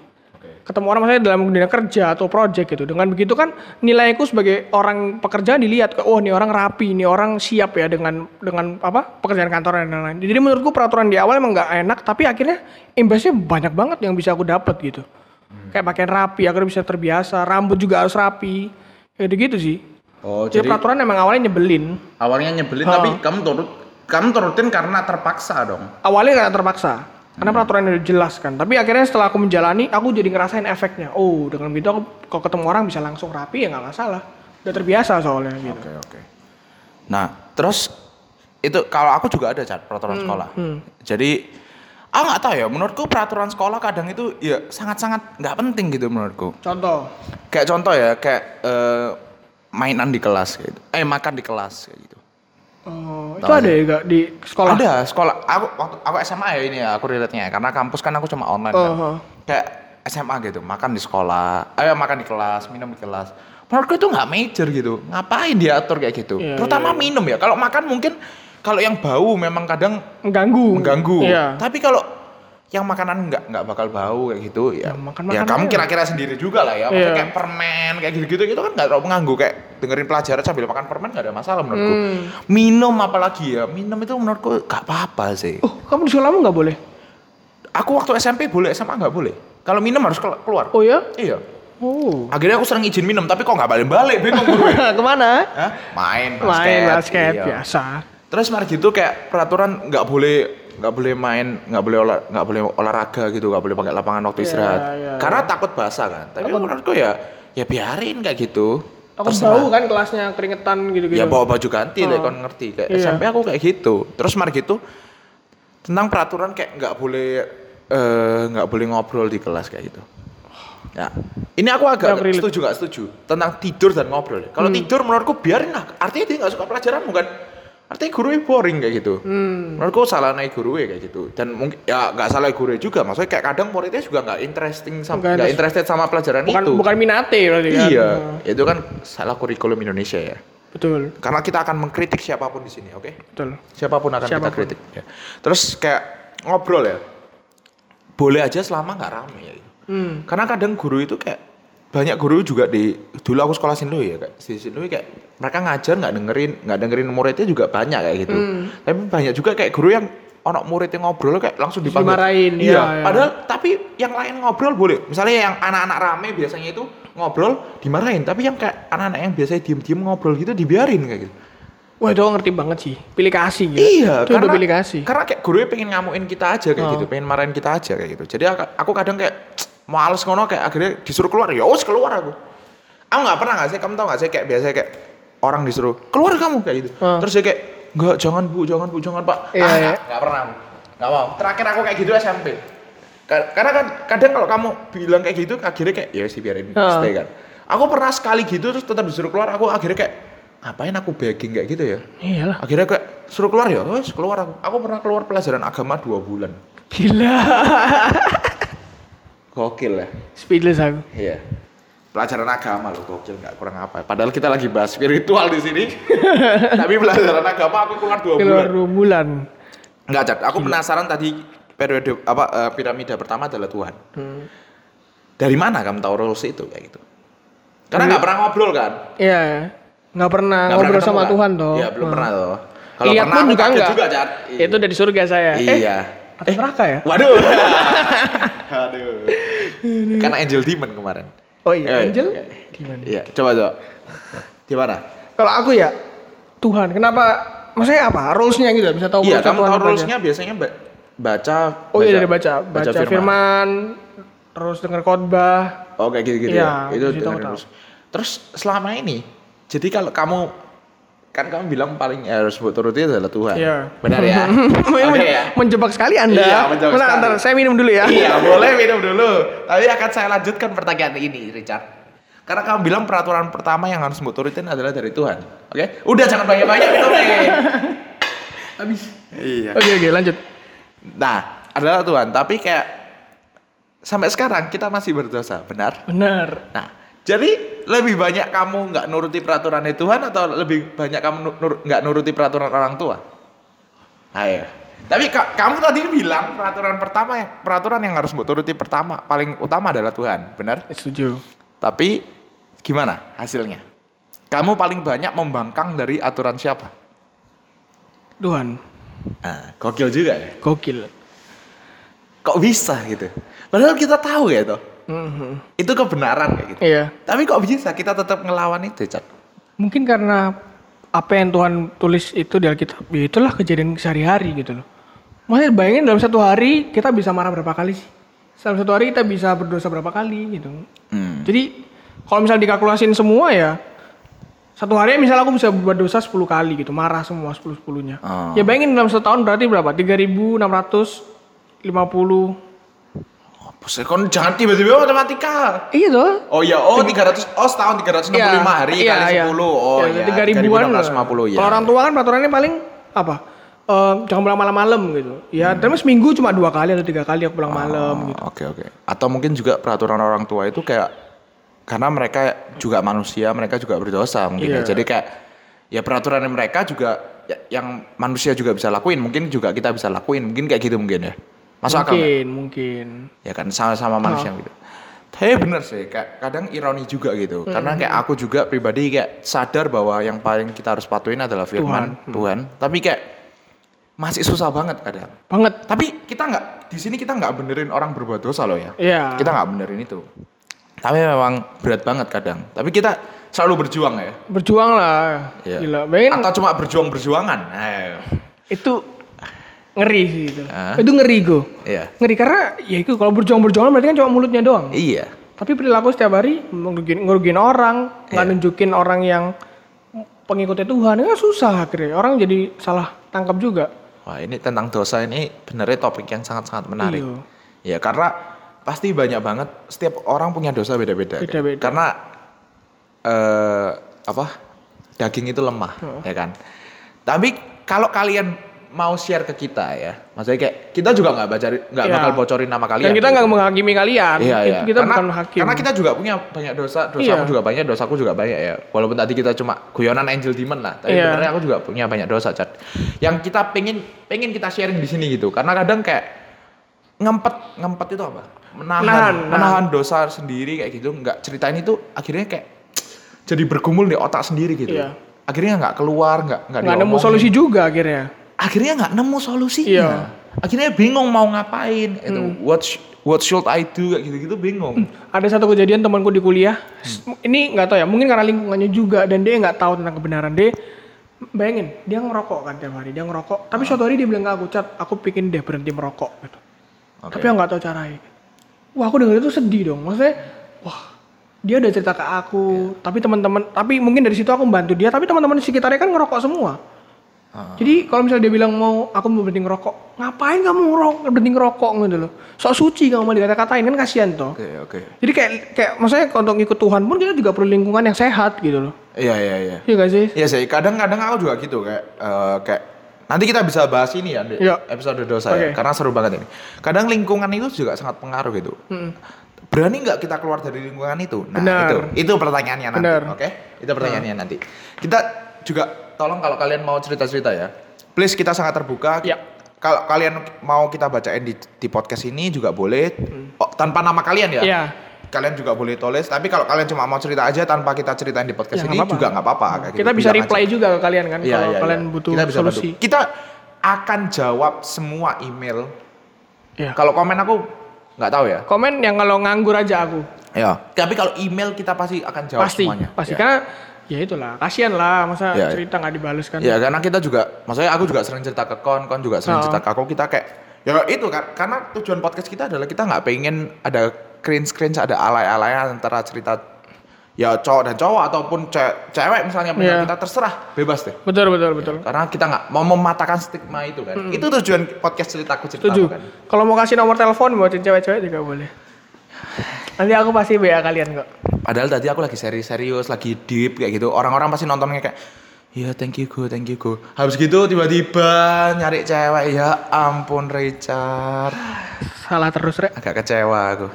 ketemu orang maksudnya dalam dunia kerja atau project gitu. Dengan begitu kan nilaiku sebagai orang pekerja dilihat ke oh ini orang rapi, ini orang siap ya dengan dengan apa pekerjaan kantor dan lain-lain. Jadi menurutku peraturan di awal emang nggak enak, tapi akhirnya imbasnya banyak banget yang bisa aku dapat gitu. Kayak pakaian rapi, akhirnya bisa terbiasa, rambut juga harus rapi, kayak gitu sih.
Oh,
Jadi, peraturan emang awalnya nyebelin,
awalnya nyebelin
Ha.
tapi kamu turut kamu turutin karena terpaksa dong.
awalnya karena terpaksa, karena peraturan udah jelas kan. Tapi akhirnya setelah aku menjalani, aku jadi ngerasain efeknya. Oh, dengan begitu aku kalau ketemu orang bisa langsung rapi ya nggak masalah. Udah terbiasa soalnya gitu.
Oke, oke. Nah, terus itu kalau aku juga ada cat peraturan sekolah. Jadi aku nggak tahu ya, menurutku peraturan sekolah kadang itu ya sangat-sangat nggak penting gitu menurutku.
Contoh,
Kayak contoh ya, kayak eh, mainan di kelas kayak gitu. Eh, makan di kelas kayak gitu.
eh, itu ada ya gak di sekolah?
Ada sekolah. Aku waktu aku SMA ya ini ya, aku relate-nya ya. Karena kampus kan aku cuma online. kan.
Aha.
Kayak SMA gitu, makan di sekolah, ayo makan di kelas, minum di kelas. Menurutku itu nggak major gitu. Ngapain diatur kayak gitu?
Iya,
Terutama minum ya. Kalau makan mungkin kalau yang bau memang kadang
Mengganggu.
mengganggu.
Iya.
Tapi kalau yang makanan nggak nggak bakal bau kayak gitu ya.
Ya, makan
ya
makanan
kamu
aja.
kira-kira sendiri juga lah ya. Maksudnya
Iya.
kayak permen kayak gitu-gitu itu kan nggak terlalu mengganggu kayak dengerin pelajaran sambil makan permen nggak ada masalah menurutku.
Hmm.
Minum apalagi ya minum itu menurutku nggak apa-apa sih.
Oh, kamu di sekolahmu nggak boleh?
Aku waktu SMP boleh SMA nggak boleh. Kalau minum harus kel- keluar.
Oh ya?
Iya.
Oh.
Akhirnya aku sering izin minum tapi kok nggak balik-balik bingung gue.
Kemana?
Hah? Main basket.
Main basket ya.
iya.
biasa.
Terus mari gitu kayak peraturan nggak boleh nggak boleh main, nggak boleh olah nggak boleh olahraga gitu, nggak boleh pakai lapangan waktu
Iya,
istirahat.
iya,
Karena takut basah kan. Tapi menurutku ya ya biarin kayak gitu.
Aku
Terserah.
bau kan kelasnya keringetan gitu-gitu.
Ya bawa baju ganti lah, kon ngerti kayak
Iya.
SMP aku kayak gitu. Terus mari gitu tentang peraturan kayak nggak boleh eh, nggak boleh ngobrol di kelas kayak gitu. Ya, ini aku agak
Aku relate.
setuju nggak setuju tentang tidur dan ngobrol. Kalau
Hmm.
tidur menurutku biarin lah. Artinya dia nggak suka pelajaran bukan? Artinya gurunya boring kayak gitu.
Hmm.
Menurutku salah naik gurunya kayak gitu. Dan mungkin ya nggak salah gurunya juga. Maksudnya kayak kadang muridnya juga nggak interesting sama
Nggak
nggak
interest-
interested sama pelajaran
bukan
itu.
bukan minate berarti kan.
Iya,
Nah,
itu kan salah kurikulum Indonesia ya.
Betul,
Karena kita akan mengkritik siapapun di sini, oke?
betul.
Siapapun akan kita
Siapapun.
kritik. ya. Terus kayak ngobrol ya, boleh aja selama nggak rame ya. gitu.
Hmm.
Karena kadang guru itu kayak banyak guru juga di dulu aku sekolah Sinlui ya kayak di Sinlui kayak mereka ngajar nggak dengerin nggak dengerin muridnya juga banyak kayak gitu.
Hmm.
Tapi banyak juga kayak guru yang onok muridnya ngobrol kayak langsung dipanggil.
Dimarahin,
iya.
iya, iya.
Padahal tapi yang lain ngobrol boleh. Misalnya yang anak-anak rame biasanya itu ngobrol dimarahin. Tapi yang kayak anak-anak yang biasanya diem-diem ngobrol gitu dibiarin kayak gitu.
Wah, itu aku ngerti banget sih. Pilih kasih gitu.
Iya,
itu udah pilih kasih. Oh.
Karena kayak gurunya pengen ngamuin kita aja kayak gitu, pengen marahin kita aja kayak gitu. Jadi aku, aku kadang kayak males ngono kayak akhirnya disuruh keluar. Ya wis keluar aku. Aku nggak pernah nggak sih, kamu tau nggak sih kayak biasanya kayak orang disuruh keluar kamu kayak gitu.
Ah.
Terus dia kayak nggak jangan bu, jangan bu, jangan pak.
Iya,
Ah,
iya.
nggak- nggak pernah aku. Nggak mau. Terakhir aku kayak gitu SMP. Ka- Karena kan kadang kalau kamu bilang kayak gitu akhirnya kayak ya sih biarin
Ah.
stay kan. Aku pernah sekali gitu terus tetap disuruh keluar aku akhirnya kayak ngapain aku begging kayak gitu ya
Iyalah.
akhirnya kayak suruh keluar ya wes keluar aku aku pernah keluar pelajaran agama dua bulan
Gila.
gokil ya
Speedless aku.
iya pelajaran agama loh gokil nggak kurang apa padahal kita lagi bahas spiritual di sini tapi pelajaran agama aku keluar dua
Keluar
bulan
dua bulan.
nggak cat aku penasaran tadi periode apa eh, piramida pertama adalah Tuhan dari mana kamu tahu rules itu kayak gitu karena nggak pernah ngobrol kan
Iya. ya. Nggak pernah
Nggak pernah
ngobrol
ketemu,
sama
kan?
Tuhan toh.
iya belum
Nah.
pernah toh kalau
Lihat
pernah
pun
aku
juga
kaget
enggak.
juga cat
Itu dari surga saya. Eh,
iya
atau neraka ya?
Waduh. Waduh. Karena Angel Demon kemarin.
Oh iya,
Eh,
Angel
eh.
gimana?
Iya, coba coba. Gimana?
Kalau aku ya Tuhan, kenapa maksudnya apa? Rules-nya gitu bisa tahu
Iya, kamu
rules-nya
tahu
Tuhan apa aja?
rules-nya biasanya ba- baca
ya. Oh iya dari baca, baca, firman. terus dengar khotbah.
Oh kayak gitu-gitu
Iya,
ya. Itu
di situ aku
dengerin
tahu.
terus. Terus selama ini, jadi kalau kamu kan kamu bilang paling eh, harus buat turuti adalah Tuhan.
Iya.
Benar ya? Oke
Men-
ya.
Menjebak sekali Anda.
Iya, menjebak
Bentar,
sekali.
bentar, saya minum dulu ya.
Iya, boleh minum dulu. Tapi akan saya lanjutkan pertanyaan ini, Richard. Karena kamu bilang peraturan pertama yang harus kamu turutin adalah dari Tuhan. Oke? Udah jangan banyak-banyak minumnya. Habis. Iya.
Oke, oke, lanjut.
Nah, adalah Tuhan, tapi kayak sampai sekarang kita masih berdosa, benar?
Benar.
Nah, jadi lebih banyak kamu nggak nuruti peraturan Tuhan atau lebih banyak kamu nu- nur- nggak nuruti peraturan orang tua? Ayo. Tapi ka- kamu tadi bilang peraturan pertama yang peraturan yang harus turuti pertama paling utama adalah Tuhan, benar?
Setuju.
Tapi gimana hasilnya? Kamu paling banyak membangkang dari aturan siapa?
Tuhan,
Ah, gokil juga ya.
gokil.
Kok bisa gitu? Padahal kita tahu ya toh.
Mhm.
Itu kebenaran kayak gitu.
Iya.
Tapi kok bisa kita tetap ngelawan itu, Cak?
Mungkin karena apa yang Tuhan tulis itu di Alkitab, ya itulah kejadian sehari-hari gitu loh. Maksudnya bayangin dalam satu hari kita bisa marah berapa kali sih? Dalam satu hari kita bisa berdosa berapa kali gitu.
Hmm.
Jadi kalau misalnya dikalkulasin semua ya satu hari misalnya aku bisa berbuat dosa 10 kali gitu, marah semua 10 10-nya.
Oh.
Ya bayangin dalam setahun berarti berapa? 3650
Apa sih? Kon jangan tiba-tiba matematika.
Iya toh.
Oh iya, oh 300 oh setahun 365 hari
Iya,
kali 10. Oh iya.
tiga ribuan.
3650 ya.
Kalau orang tua kan peraturannya paling apa? Eh, jangan pulang malam-malam gitu. Ya, tapi seminggu cuma dua kali atau tiga kali aku pulang
Hmm.
malam
Oh, Oke,
gitu.
oke. Atau mungkin juga peraturan orang tua itu kayak karena mereka juga manusia, mereka juga berdosa mungkin ya.
Iya.
Jadi kayak ya peraturan mereka juga ya, yang manusia juga bisa lakuin, mungkin juga kita bisa lakuin, mungkin kayak gitu mungkin ya. Masuk akal. nggak?
mungkin, mungkin.
ya kan sama-sama manusia gitu. Tapi bener sih, kayak kadang ironi juga gitu. Karena kayak aku juga pribadi kayak sadar bahwa yang paling kita harus patuhin adalah firman Tuhan. Tapi kayak masih susah banget kadang.
Banget.
Tapi kita nggak di sini kita nggak benerin orang berbuat dosa loh ya.
Iya.
Kita nggak benerin itu. Tapi memang berat banget kadang. Tapi kita selalu berjuang ya.
Berjuang lah.
Iya.
Gila, bayangin
Atau cuma berjuang-berjuangan. Eh,
itu ngeri sih itu.
Hah?
Itu ngeri go.
Iya.
Ngeri karena ya itu kalau berjuang-berjuang berarti kan cuma mulutnya doang.
Iya.
Tapi perilaku setiap hari ngerugiin, ngerugiin orang,
Iya.
nggak nunjukin orang yang pengikutnya Tuhan, ya susah akhirnya. Orang jadi salah tangkap juga.
Wah ini tentang dosa ini benernya topik yang sangat-sangat menarik.
Iya.
Ya karena pasti banyak banget setiap orang punya dosa beda-beda. kan?
Beda-beda.
Karena eh apa daging itu lemah ya kan. Tapi kalau kalian mau share ke kita ya, maksudnya kayak kita juga nggak baca nggak
Iya.
bakal bocorin nama kalian.
Dan kita
gitu.
nggak menghakimi kalian.
Iya,
Kan Itu
iya.
Kita
karena,
bukan hakim.
Karena kita juga punya banyak dosa, dosamu
Iya.
juga banyak, dosaku juga banyak ya. Walaupun tadi kita cuma guyonan angel demon lah, tapi
Iya.
sebenarnya aku juga punya banyak dosa, Chat. Yang kita pengen pengen kita sharing di sini gitu. Karena kadang kayak ngempet, ngempet itu apa? Menahan,
Nahan,
menahan dosa sendiri kayak gitu, nggak ceritain itu akhirnya kayak jadi bergumul di otak sendiri gitu.
Iya.
Akhirnya nggak keluar, nggak nggak
nggak nemu
diomongin.
solusi juga akhirnya.
Akhirnya nggak nemu solusinya.
Iya. Hmm.
Akhirnya bingung mau ngapain. Itu what sh- what should I do kayak gitu-gitu bingung.
Ada satu kejadian temanku di kuliah. s-
Hmm.
Ini nggak tahu ya, mungkin karena lingkungannya juga dan dia nggak tahu tentang kebenaran dia. Bayangin, dia ngerokok kan tiap hari, dia ngerokok.
Ah.
Tapi suatu hari dia bilang ke aku, "Cat, aku pingin deh berhenti merokok." Gitu.
Oke.
Tapi aku nggak tahu caranya. Wah, aku denger itu sedih dong. Maksudnya, wah, dia udah cerita ke
Iya.
aku, tapi teman-teman, tapi mungkin dari situ aku membantu dia, tapi teman-teman di sekitarnya kan ngerokok semua.
Ah.
Jadi kalau misalnya dia bilang mau aku mau berhenti ngerokok, ngapain kamu ngerokok, berhenti ngerokok gitu loh. Sok suci kamu mau dikata-katain kan kasihan toh.
Oke, oke.
Jadi kayak kayak maksudnya kalau untuk ikut Tuhan pun kita juga perlu lingkungan yang sehat gitu loh.
Iya, iya, iya.
Iya gak sih?
Iya sih, kadang-kadang aku juga gitu kayak eh, kayak nanti kita bisa bahas ini ya di
Iya.
episode dosa ya,
Oke.
karena seru banget ini. Kadang lingkungan itu juga sangat pengaruh gitu.
Hmm.
Berani nggak kita keluar dari lingkungan itu? Nah,
Benar.
itu itu pertanyaannya nanti,
Benar. Nah.
oke? Itu pertanyaannya nanti. Kita juga tolong kalau kalian mau cerita-cerita ya. Please kita sangat terbuka.
Iya.
Kalau kalian mau kita bacain di, di podcast ini juga boleh Oh, tanpa nama kalian ya.
Hmm. Iya.
Kalian juga boleh tulis, tapi kalau kalian cuma mau cerita aja tanpa kita ceritain di podcast
Ya,
ini
nggak apa-apa.
juga nggak apa-apa. kayak
Kita
gitu.
bisa
Bilang aja.
reply juga ke kalian kan
Iya,
kalau
iya,
kalian
iya.
butuh
Kita bisa bantu.
solusi.
Kita akan jawab semua email.
Iya.
Kalau komen aku Nggak tahu ya.
Komen yang kalau nganggur aja aku.
Ya. Tapi kalau email kita pasti akan jawab
pasti,
semuanya.
pasti
Ya.
karena ya itulah, kasihan lah masa
Ya, ya.
cerita nggak dibales kan.
Ya karena kita juga, maksudnya aku juga sering cerita ke kon, kon juga sering
Oh.
cerita ke aku, kita kayak ya itu kan karena tujuan podcast kita adalah kita nggak pengen ada cringe cringe ada alay alayan antara cerita ya cowok dan cowok ataupun ce- cewek misalnya
Iya.
kita terserah bebas deh
Betul betul betul.
karena kita nggak mau mematahkan stigma itu kan itu tujuan podcast ceritaku cerita
Hmm. Setuju.
kan
Kalau mau kasih nomor telepon buat cewek-cewek juga boleh. Nanti aku pasti BA kalian kok.
Padahal tadi aku lagi serius-serius, lagi deep kayak gitu. Orang-orang pasti nontonnya kayak, ya thank you go, thank you go. Habis gitu tiba-tiba nyari cewek, ya ampun Richard.
Salah terus, Rek.
Agak kecewa aku.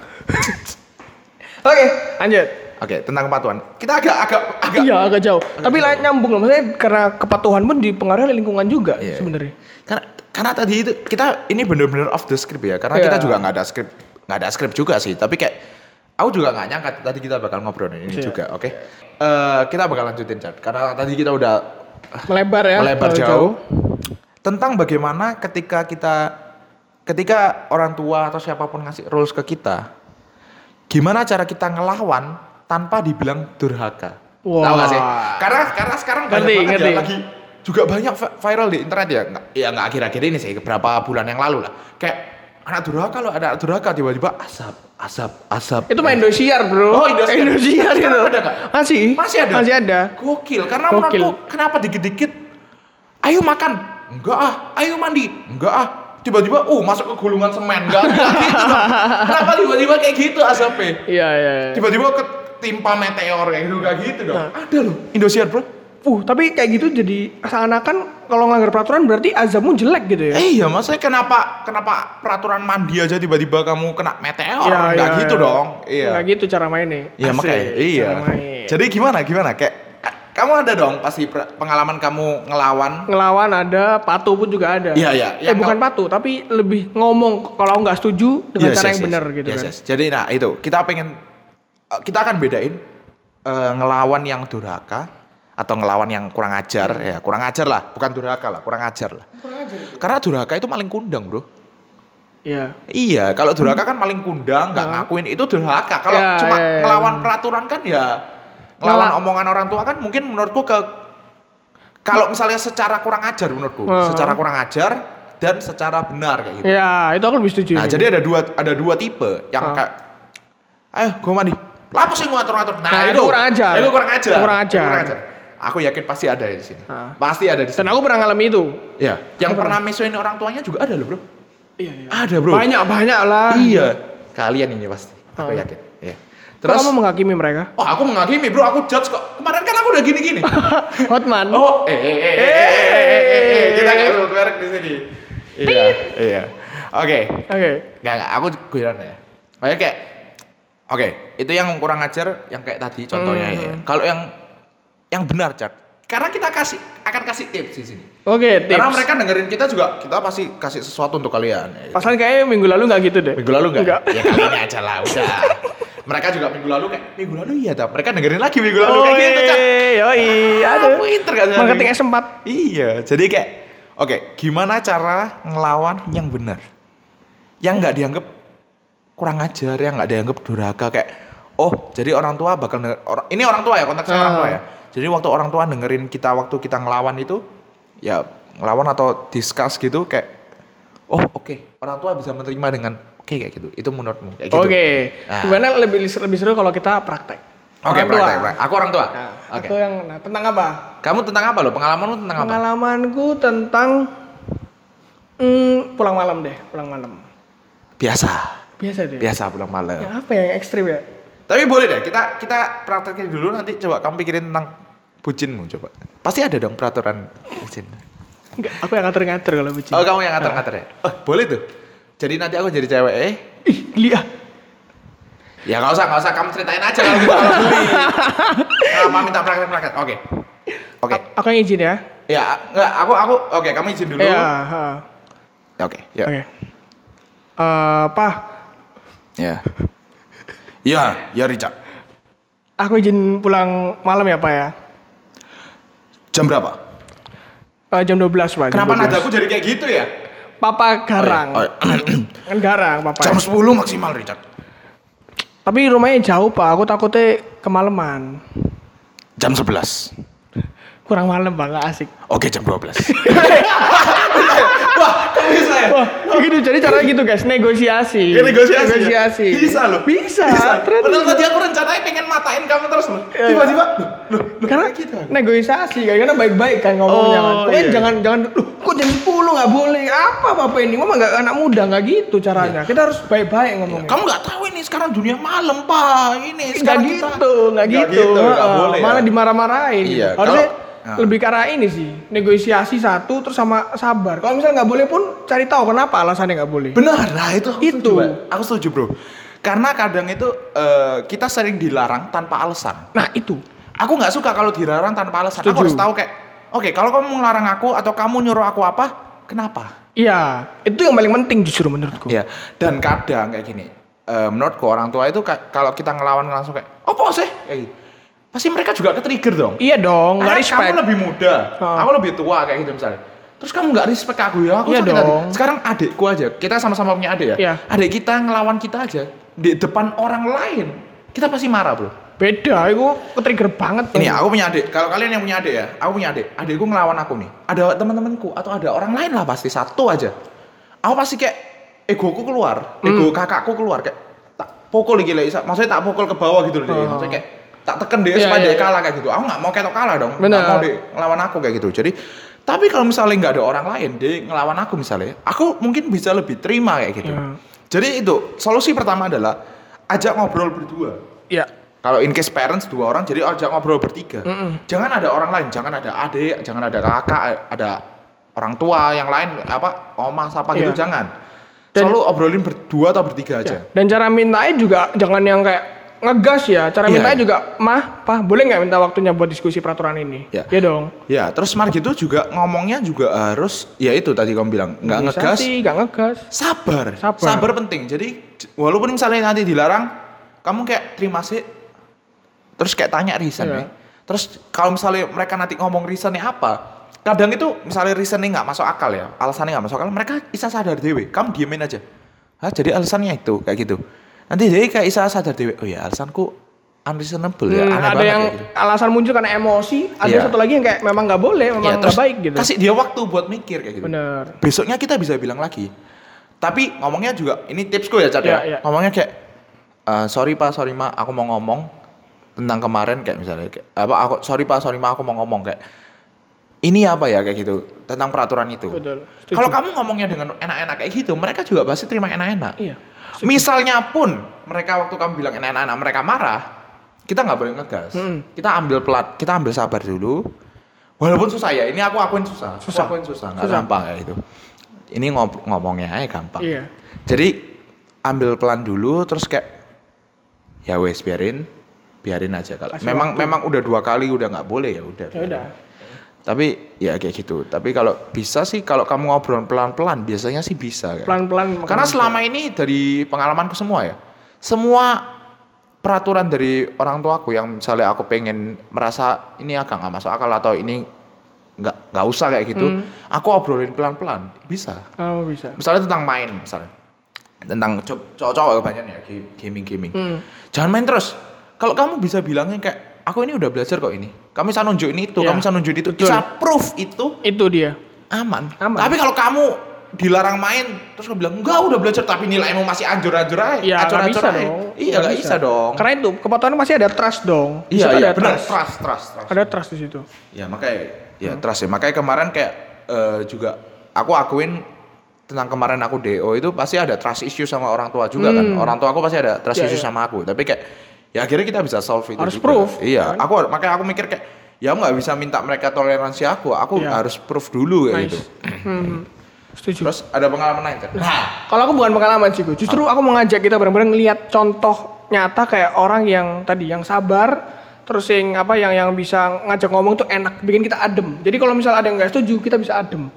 Oke, lanjut.
Oke, tentang kepatuhan. Kita agak, agak, agak.
Iya, agak jauh. Tapi lah nyambung loh. Maksudnya karena kepatuhan pun dipengaruhi oleh lingkungan juga
Iya.
sebenarnya.
Karena, karena tadi itu kita ini bener-bener off the script ya. Karena
Iya.
kita juga nggak ada script, nggak ada script juga sih. Tapi kayak, aku juga nggak nyangka tadi kita bakal ngobrol ini
Iya.
juga, oke? Eh, kita bakal lanjutin chat. Karena tadi kita udah
Melebar ya.
Ah, melebar
terlalu
jauh. tentang bagaimana ketika kita ketika orang tua atau siapapun ngasih rules ke kita gimana cara kita ngelawan tanpa dibilang durhaka
Wah.
tahu gak sih karena karena sekarang banyak
Ngerti,
banget ya
ngerti.
lagi juga banyak vi- viral di internet ya nggak ya nggak akhir-akhir ini sih beberapa bulan yang lalu lah kayak anak durhaka loh ada anak durhaka tiba-tiba asap asap asap
Itu main Indosiar, Bro.
Oh, Indosiar.
Indosiar
Sekarang
itu.
ada nggak?
Masih.
Masih ada.
Masih ada.
Gokil. Karena
Gokil.
menurutku kenapa dikit-dikit ayo makan. Enggak ah. Ayo mandi. Enggak ah. Tiba-tiba uh masuk ke gulungan semen. Enggak. enggak gitu. kenapa tiba-tiba kayak gitu asapnya?
Iya, iya. iya.
Tiba-tiba ketimpa meteor kayak gitu enggak gitu
Nah.
dong. Ada loh Indosiar, Bro.
Uh, tapi kayak gitu jadi seakan-akan kalau ngelanggar peraturan berarti azabmu jelek gitu ya.
Eh iya, maksudnya kenapa kenapa peraturan mandi aja tiba-tiba kamu kena meteor?
Iya,
enggak
iya,
gitu
iya.
dong. Iya.
Nggak gitu cara mainnya.
Iya
Asik,
makanya. Iya.
Cara main.
Jadi gimana gimana kayak ka- kamu ada dong pasti per- pengalaman kamu ngelawan.
ngelawan ada, patuh pun juga ada.
Iya, iya.
Eh
Yang
bukan patuh, tapi lebih ngomong kalau nggak setuju
Yes,
dengan cara
yes,
yang
yes.
benar gitu
Yes,
kan.
yes. Jadi nah itu kita pengen eh, kita akan bedain eh, ngelawan yang durhaka atau ngelawan yang kurang ajar ya
Hmm.
kurang ajar lah bukan durhaka lah kurang ajar lah. Karena durhaka itu maling kundang bro.
Iya.
Iya, kalau durhaka kan maling kundang, nggak ngakuin itu durhaka. Kalau
Hmm. Ya,
cuma
ya, ya.
ngelawan peraturan kan ya ngelawan
Malah-
omongan orang tua kan mungkin menurutku ke kalau misalnya secara kurang ajar menurutku,
Hmm.
secara kurang ajar dan secara benar kayak gitu.
Iya, itu aku lebih setuju.
Nah,
ini.
jadi ada dua ada dua tipe yang
Hmm.
kayak ayo gue mandi. Lapa sih ngatur ngatur. Nah,
Nah, itu kurang ajar.
Itu kurang ajar.
Itu kurang ajar.
Aku yakin pasti ada di sini.
Hmm.
Pasti ada di sini.
Dan aku pernah ngalami itu.
Ya, yang pernah misuin orang tuanya juga ada loh, Bro.
Iya,
Ada, Bro.
Banyak banyak lah.
Iya. Kalian ini pasti. Aku
Oh.
yakin. Iya.
Terus
Terus
kamu menghakimi mereka?
Oh, aku menghakimi, Bro. Aku judge kok. Kemarin kan aku udah gini-gini.
Hotman.
oh, eh eh eh eh, eh, eh, eh, eh, eh, kita nggak perlu merek di sini. Iya, iya. Oke.
Oke.
Enggak, enggak. Aku giliran ya. Oke, kayak Oke, itu yang kurang ajar yang kayak tadi contohnya
Hmm.
ya. Kalau yang yang benar, Cat. Karena kita kasih akan kasih tips di sini.
Oke, tips.
Karena mereka dengerin kita juga, kita pasti kasih sesuatu untuk kalian. ya.
Pasalnya kayaknya minggu lalu nggak gitu deh.
Minggu lalu enggak?
Nggak.
Ya kali ini aja lah, udah. Mereka juga minggu lalu kayak, minggu lalu iya dah. Mereka dengerin lagi minggu
Oh,
lalu kayak gitu, Cak.
Yoi, yoi.
Ah,
Aduh.
Pinter gak sih?
iya, Marketing S4.
Iya, jadi kayak, oke, gimana cara ngelawan yang benar? Yang nggak dianggap kurang ajar, yang nggak dianggap durhaka kayak, oh, jadi orang tua bakal denger, orang- ini orang tua ya, kontak saya orang tua
Ah.
ya. Jadi waktu orang tua dengerin kita waktu kita ngelawan itu, ya ngelawan atau discuss gitu kayak, oh oke, orang tua bisa menerima dengan oke kayak gitu. Itu menurutmu? Kayak gitu.
Oke.
Nah.
Gimana lebih lebih seru kalau kita praktek?
Oke,
Orang tua.
praktek, praktek. aku orang tua.
Nah,
Oke.
Atau yang nah, tentang apa?
Kamu tentang apa lo? Pengalamanmu tentang apa?
Pengalamanku tentang mm, pulang malam deh, pulang malam.
Biasa.
Biasa deh.
biasa pulang malam.
Yang apa yang ekstrim ya?
Tapi boleh deh, kita kita praktekin dulu nanti coba kamu pikirin tentang bucinmu coba. Pasti ada dong peraturan bucin.
Enggak, aku yang ngatur-ngatur kalau bucin.
Oh kamu yang ngatur-ngatur ya? Oh, boleh tuh. Jadi nanti aku jadi cewek eh?
Ih, Lia.
Ya nggak usah, nggak usah kamu ceritain aja kalau gitu. kalau beli. Kenapa minta praktek-praktek? Oke. Oke.
A- Aku yang izin ya.
Ya, enggak, aku aku oke, kamu izin dulu.
Iya,
Oke,
Oke.
ya.
Eh, Pak,
Ya. Ya, ya Richard.
aku izin pulang malam ya, Pak ya.
Jam berapa?
Eh, jam 12, Pak. jam
Kenapa
12.
nadaku jadi kayak gitu ya?
papa garang.
Oh,
Kan garang papa.
Jam 10 maksimal Richard.
Tapi rumahnya jauh, Pak. Aku takutnya kemalaman.
Jam 11.
Kurang malam, Pak. Nggak asik.
Oke, jam 12.
Wah, gitu. Jadi caranya gitu, guys. Negosiasi.
Ya, negosiasi.
Negosiasi.
Bisa loh.
Bisa. Ternyata
Padahal tadi aku rencananya pengen matain kamu terus loh. Tiba-tiba loh, loh, loh,
Iya. Karena
kayak gitu.
negosiasi kan, karena baik-baik kan ngomongnya
Oh,
kan. Pokoknya
iya.
jangan jangan "Loh, kok jam 10 nggak boleh. Apa Bapak ini? Mama nggak anak muda nggak gitu caranya. Kita harus baik-baik ngomongnya.
Iya. Kamu nggak tahu ini sekarang dunia malam, Pak. Ini
Nggak
sekarang kita
gitu, nggak
Nggak
gitu.
gitu, nggak
Heeh,
boleh ya.
Malah dimarah-marahin. gitu.
Iya,
Harusnya
kalau- Ah.
lebih ke arah ini sih. Negosiasi satu terus sama sabar. Kalau misalnya nggak boleh pun cari tahu kenapa alasannya nggak boleh.
Benar, nah itu aku setuju.
Itu.
Pak. Aku setuju, Bro. Karena kadang itu eh, kita sering dilarang tanpa alasan.
Nah, itu.
Aku nggak suka kalau dilarang tanpa alasan. Aku
Setuju.
harus tahu kayak, oke, kalau kamu ngelarang aku atau kamu nyuruh aku apa, kenapa?
Iya, itu yang paling penting justru menurutku.
Iya. Dan kadang kayak gini, eh, menurutku orang tua itu ka- kalau kita ngelawan langsung kayak, oh sih? Kayak gitu. Pasti mereka juga ke-trigger dong.
Iya dong, nggak
Ah,
respect.
Kamu lebih muda,
Ah.
aku lebih tua kayak gitu misalnya. Terus kamu nggak respect aku ya? Aku
Iya
sakit hati.
dong.
Sekarang adikku aja, kita sama-sama punya adik ya.
Iya.
Adik kita ngelawan kita aja di depan orang lain, kita pasti marah bro.
Beda, itu trigger banget.
Ini aku punya adik. Kalau kalian yang punya adik ya, aku punya adik. Adikku ngelawan aku nih. Ada teman-temanku atau ada orang lain lah pasti satu aja. Aku pasti kayak egoku keluar,
Hmm.
ego kakakku keluar kayak tak pukul lagi lah. Isa. Maksudnya tak pukul ke bawah gitu loh. Dek.
Oh.
Maksudnya kayak tak tekan dia
Iya,
supaya
iya,
dia
iya.
kalah kayak gitu. Aku nggak mau ketok kalah dong.
Benar.
Nggak mau dia ngelawan aku kayak gitu. Jadi tapi kalau misalnya nggak ada orang lain dia ngelawan aku misalnya, aku mungkin bisa lebih terima kayak gitu.
Iya.
Jadi itu solusi pertama adalah ajak ngobrol berdua.
Iya.
Kalau in case parents dua orang, jadi ajak ngobrol bertiga. Jangan ada orang lain, jangan ada adik, jangan ada kakak, eh, ada orang tua yang lain, apa oma, siapa gitu,
Iya.
jangan.
Dan- Iya.
Selalu obrolin berdua atau bertiga aja.
Dan cara mintanya juga jangan yang kayak ngegas ya. Cara
Iya,
mintanya
iya.
juga, mah, pah, boleh nggak minta waktunya buat diskusi peraturan ini?
Iya.
dong.
Ya, terus mar gitu juga ngomongnya juga harus, ya itu tadi kamu bilang, nggak ngegas,
Sih, nggak ngegas.
sabar.
Sabar.
penting. Jadi j- walaupun misalnya nanti dilarang, kamu kayak terima sih. Terus kayak tanya reason
Iya.
Terus kalau misalnya mereka nanti ngomong reasonnya apa, kadang itu misalnya reasonnya nggak masuk akal ya, alasannya nggak masuk akal, mereka bisa sadar dewe. Kamu diemin aja. Hah, jadi alasannya itu kayak gitu. Nanti jadi kayak bisa sadar dewe. Oh ya, alasanku unreasonable ya, aneh
Hmm, ada
banget
yang
kayak gitu.
alasan muncul karena emosi, ada
Iya.
satu lagi yang kayak memang nggak boleh,
Ya,
memang
terus
nggak baik gitu.
Kasih dia waktu buat mikir kayak gitu.
Bener.
Besoknya kita bisa bilang lagi. Tapi ngomongnya juga ini tipsku ya Cat ya.
Iya, iya.
Ngomongnya kayak "Eh, sorry Pak, sorry Ma, aku mau ngomong tentang kemarin kayak misalnya kayak apa aku sorry Pak, sorry Ma, aku mau ngomong kayak ini apa ya kayak gitu tentang peraturan itu.
Betul. Setuju.
Kalau kamu ngomongnya dengan enak-enak kayak gitu, mereka juga pasti terima enak-enak.
Iya.
Misalnya pun mereka waktu kamu bilang enak-enak mereka marah, kita nggak boleh ngegas.
Mm-mm.
Kita ambil pelat, kita ambil sabar dulu. Walaupun susah ya, ini aku akuin susah. Aku
Susah.
akuin susah, nggak
Susah.
gampang kayak gitu. Ini ngob- ngomongnya aja gampang.
Iya.
Jadi ambil pelan dulu, terus kayak ya wes biarin, biarin aja kalau.
Kasih
Memang memang udah dua kali udah nggak boleh ya udah.
Ya udah.
Tapi ya kayak gitu. Tapi kalau bisa sih kalau kamu ngobrol pelan-pelan biasanya sih bisa. kayak.
Pelan-pelan.
Karena selama ini dari pengalamanku semua ya, semua peraturan dari orang tuaku yang misalnya aku pengen merasa ini agak nggak masuk akal atau ini nggak nggak usah kayak gitu,
Hmm.
aku obrolin pelan-pelan bisa.
Oh bisa.
Misalnya tentang main misalnya, tentang co- cowok-cowok kebanyakan ya ga- gaming-gaming.
Hmm.
Jangan main terus. Kalau kamu bisa bilangnya kayak aku ini udah belajar kok ini. Kamu bisa nunjukin itu,
Iya,
kamu bisa nunjukin itu,
betul.
bisa proof itu
Itu dia.
aman.
Aman.
Tapi kalau kamu dilarang main terus kamu bilang enggak udah belajar tapi nilaimu masih anjur-anjur aja.
Iya, nggak
acur-acur
bisa
aja."
dong.
Iya nggak bisa. dong.
Karena itu kepatuhan masih ada trust dong. Di
Iya
situ
iya
ada
benar.
trust.
Trust trust trust.
Ada trust di situ.
Ya makanya ya trust ya. Makanya kemarin kayak eh, juga aku akuin tentang kemarin aku DO itu pasti ada trust issue sama orang tua juga kan.
Hmm.
Orang tua aku pasti ada trust
Iya,
issue
iya.
sama aku. Tapi kayak ya akhirnya kita bisa solve itu.
Harus
juga.
proof,
Iya.
kan?
Aku makanya aku mikir kayak ya aku nggak bisa minta mereka toleransi aku. Aku
Iya.
harus proof dulu kayak
Nice.
gitu.
Hmm. Setuju.
Terus ada pengalaman lain kan? Nah,
Kalau aku bukan pengalaman sih, Gu. justru aku mau ngajak kita bareng-bareng ngelihat contoh nyata kayak orang yang tadi yang sabar, terus yang apa yang yang bisa ngajak ngomong tuh enak, bikin kita adem. Jadi kalau misal ada yang nggak setuju, kita bisa adem.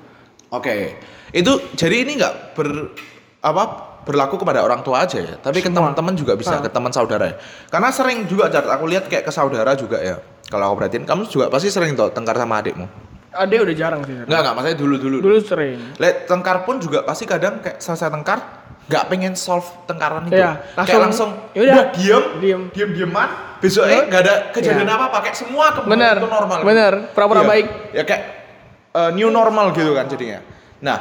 Oke, itu jadi ini nggak ber apa berlaku kepada orang tua aja ya, tapi ke teman-teman juga bisa, ke teman saudara ya. Karena sering juga Jar, aku lihat kayak ke saudara juga ya. Kalau aku perhatiin, kamu juga pasti sering tuh tengkar sama adikmu.
Ah, Dia udah jarang sih.
Enggak enggak, maksudnya dulu-dulu.
Dulu sering.
Lihat tengkar pun juga pasti kadang kayak selesai tengkar nggak pengen solve tengkaran itu.
Iya,
kayak langsung
langsung, yaudah,
udah diem,
diem. Iya.
diem dieman. Besoknya nggak ada kejadian apa apa, kayak semua ke
Bener,
ke normal.
bener. Pura-pura
Iya.
baik.
Ya kayak uh, new normal gitu kan jadinya. Nah,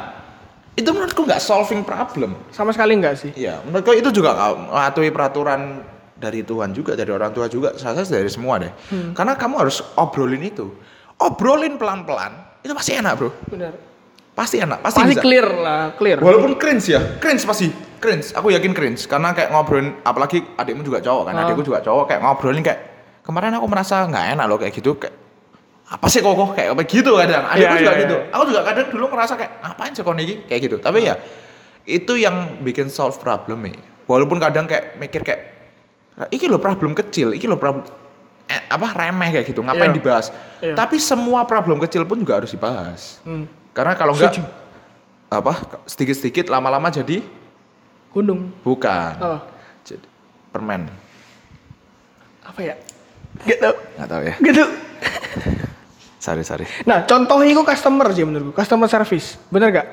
itu menurutku nggak solving problem.
Sama sekali enggak sih.
Iya, menurutku itu juga nggak mematuhi peraturan dari Tuhan juga, dari orang tua juga, saya rasa dari semua deh.
Hmm.
Karena kamu harus obrolin itu, obrolin pelan-pelan, itu pasti enak bro,
Bener.
pasti enak, pasti,
Pasti
bisa.
clear lah, clear.
Walaupun cringe ya, cringe pasti cringe. Aku yakin cringe karena kayak ngobrolin, apalagi adikmu juga cowok kan,
Ah.
adikku juga cowok kayak ngobrolin kayak kemarin aku merasa nggak enak loh kayak gitu kayak apa sih kok kok kayak apa gitu kadang adikku
Iya,
juga
iya,
gitu
iya.
aku juga kadang dulu ngerasa kayak ngapain sih kon ini kayak gitu tapi ya itu yang bikin solve problem ya walaupun kadang kayak mikir kayak iki loh problem kecil iki loh problem eh, apa remeh kayak gitu ngapain
Iya.
dibahas
Iya.
tapi semua problem kecil pun juga harus dibahas
Hmm.
karena kalau enggak
Setuju.
apa sedikit-sedikit lama-lama jadi
Gunung.
bukan.
Apa?
Jadi permen.
Apa ya? Gak tau.
Nggak tahu ya.
Gak tau.
Sorry, sorry.
Nah, contohnya itu customer sih menurutku, customer service. Bener gak?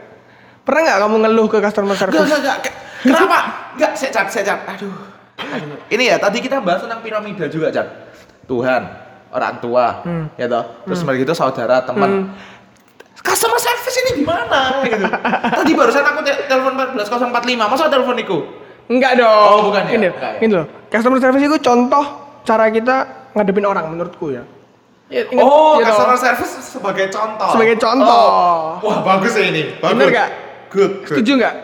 Pernah gak kamu ngeluh ke customer
Enggak,
service?
enggak, enggak. Ke- Kenapa? Enggak, saya cat, saya cat. Aduh. Gitu. Ini ya, tadi kita bahas tentang piramida juga, Cat. Tuhan, orang tua, ya toh. Terus mereka itu saudara, teman. Hmm. Customer service ini gimana gitu. Tadi barusan aku te- telepon 14045, masa telepon iku?
Enggak dong.
Oh, bukan ya?
Ini,
Enggak ya?
ini loh. Customer service itu contoh cara kita ngadepin orang menurutku ya. Ya, ingat,
Oh,
ya toh.
customer service sebagai contoh.
Sebagai contoh.
Oh. Wah, bagus ya ini. Bagus.
Bener nggak?
Good, good.
Setuju nggak?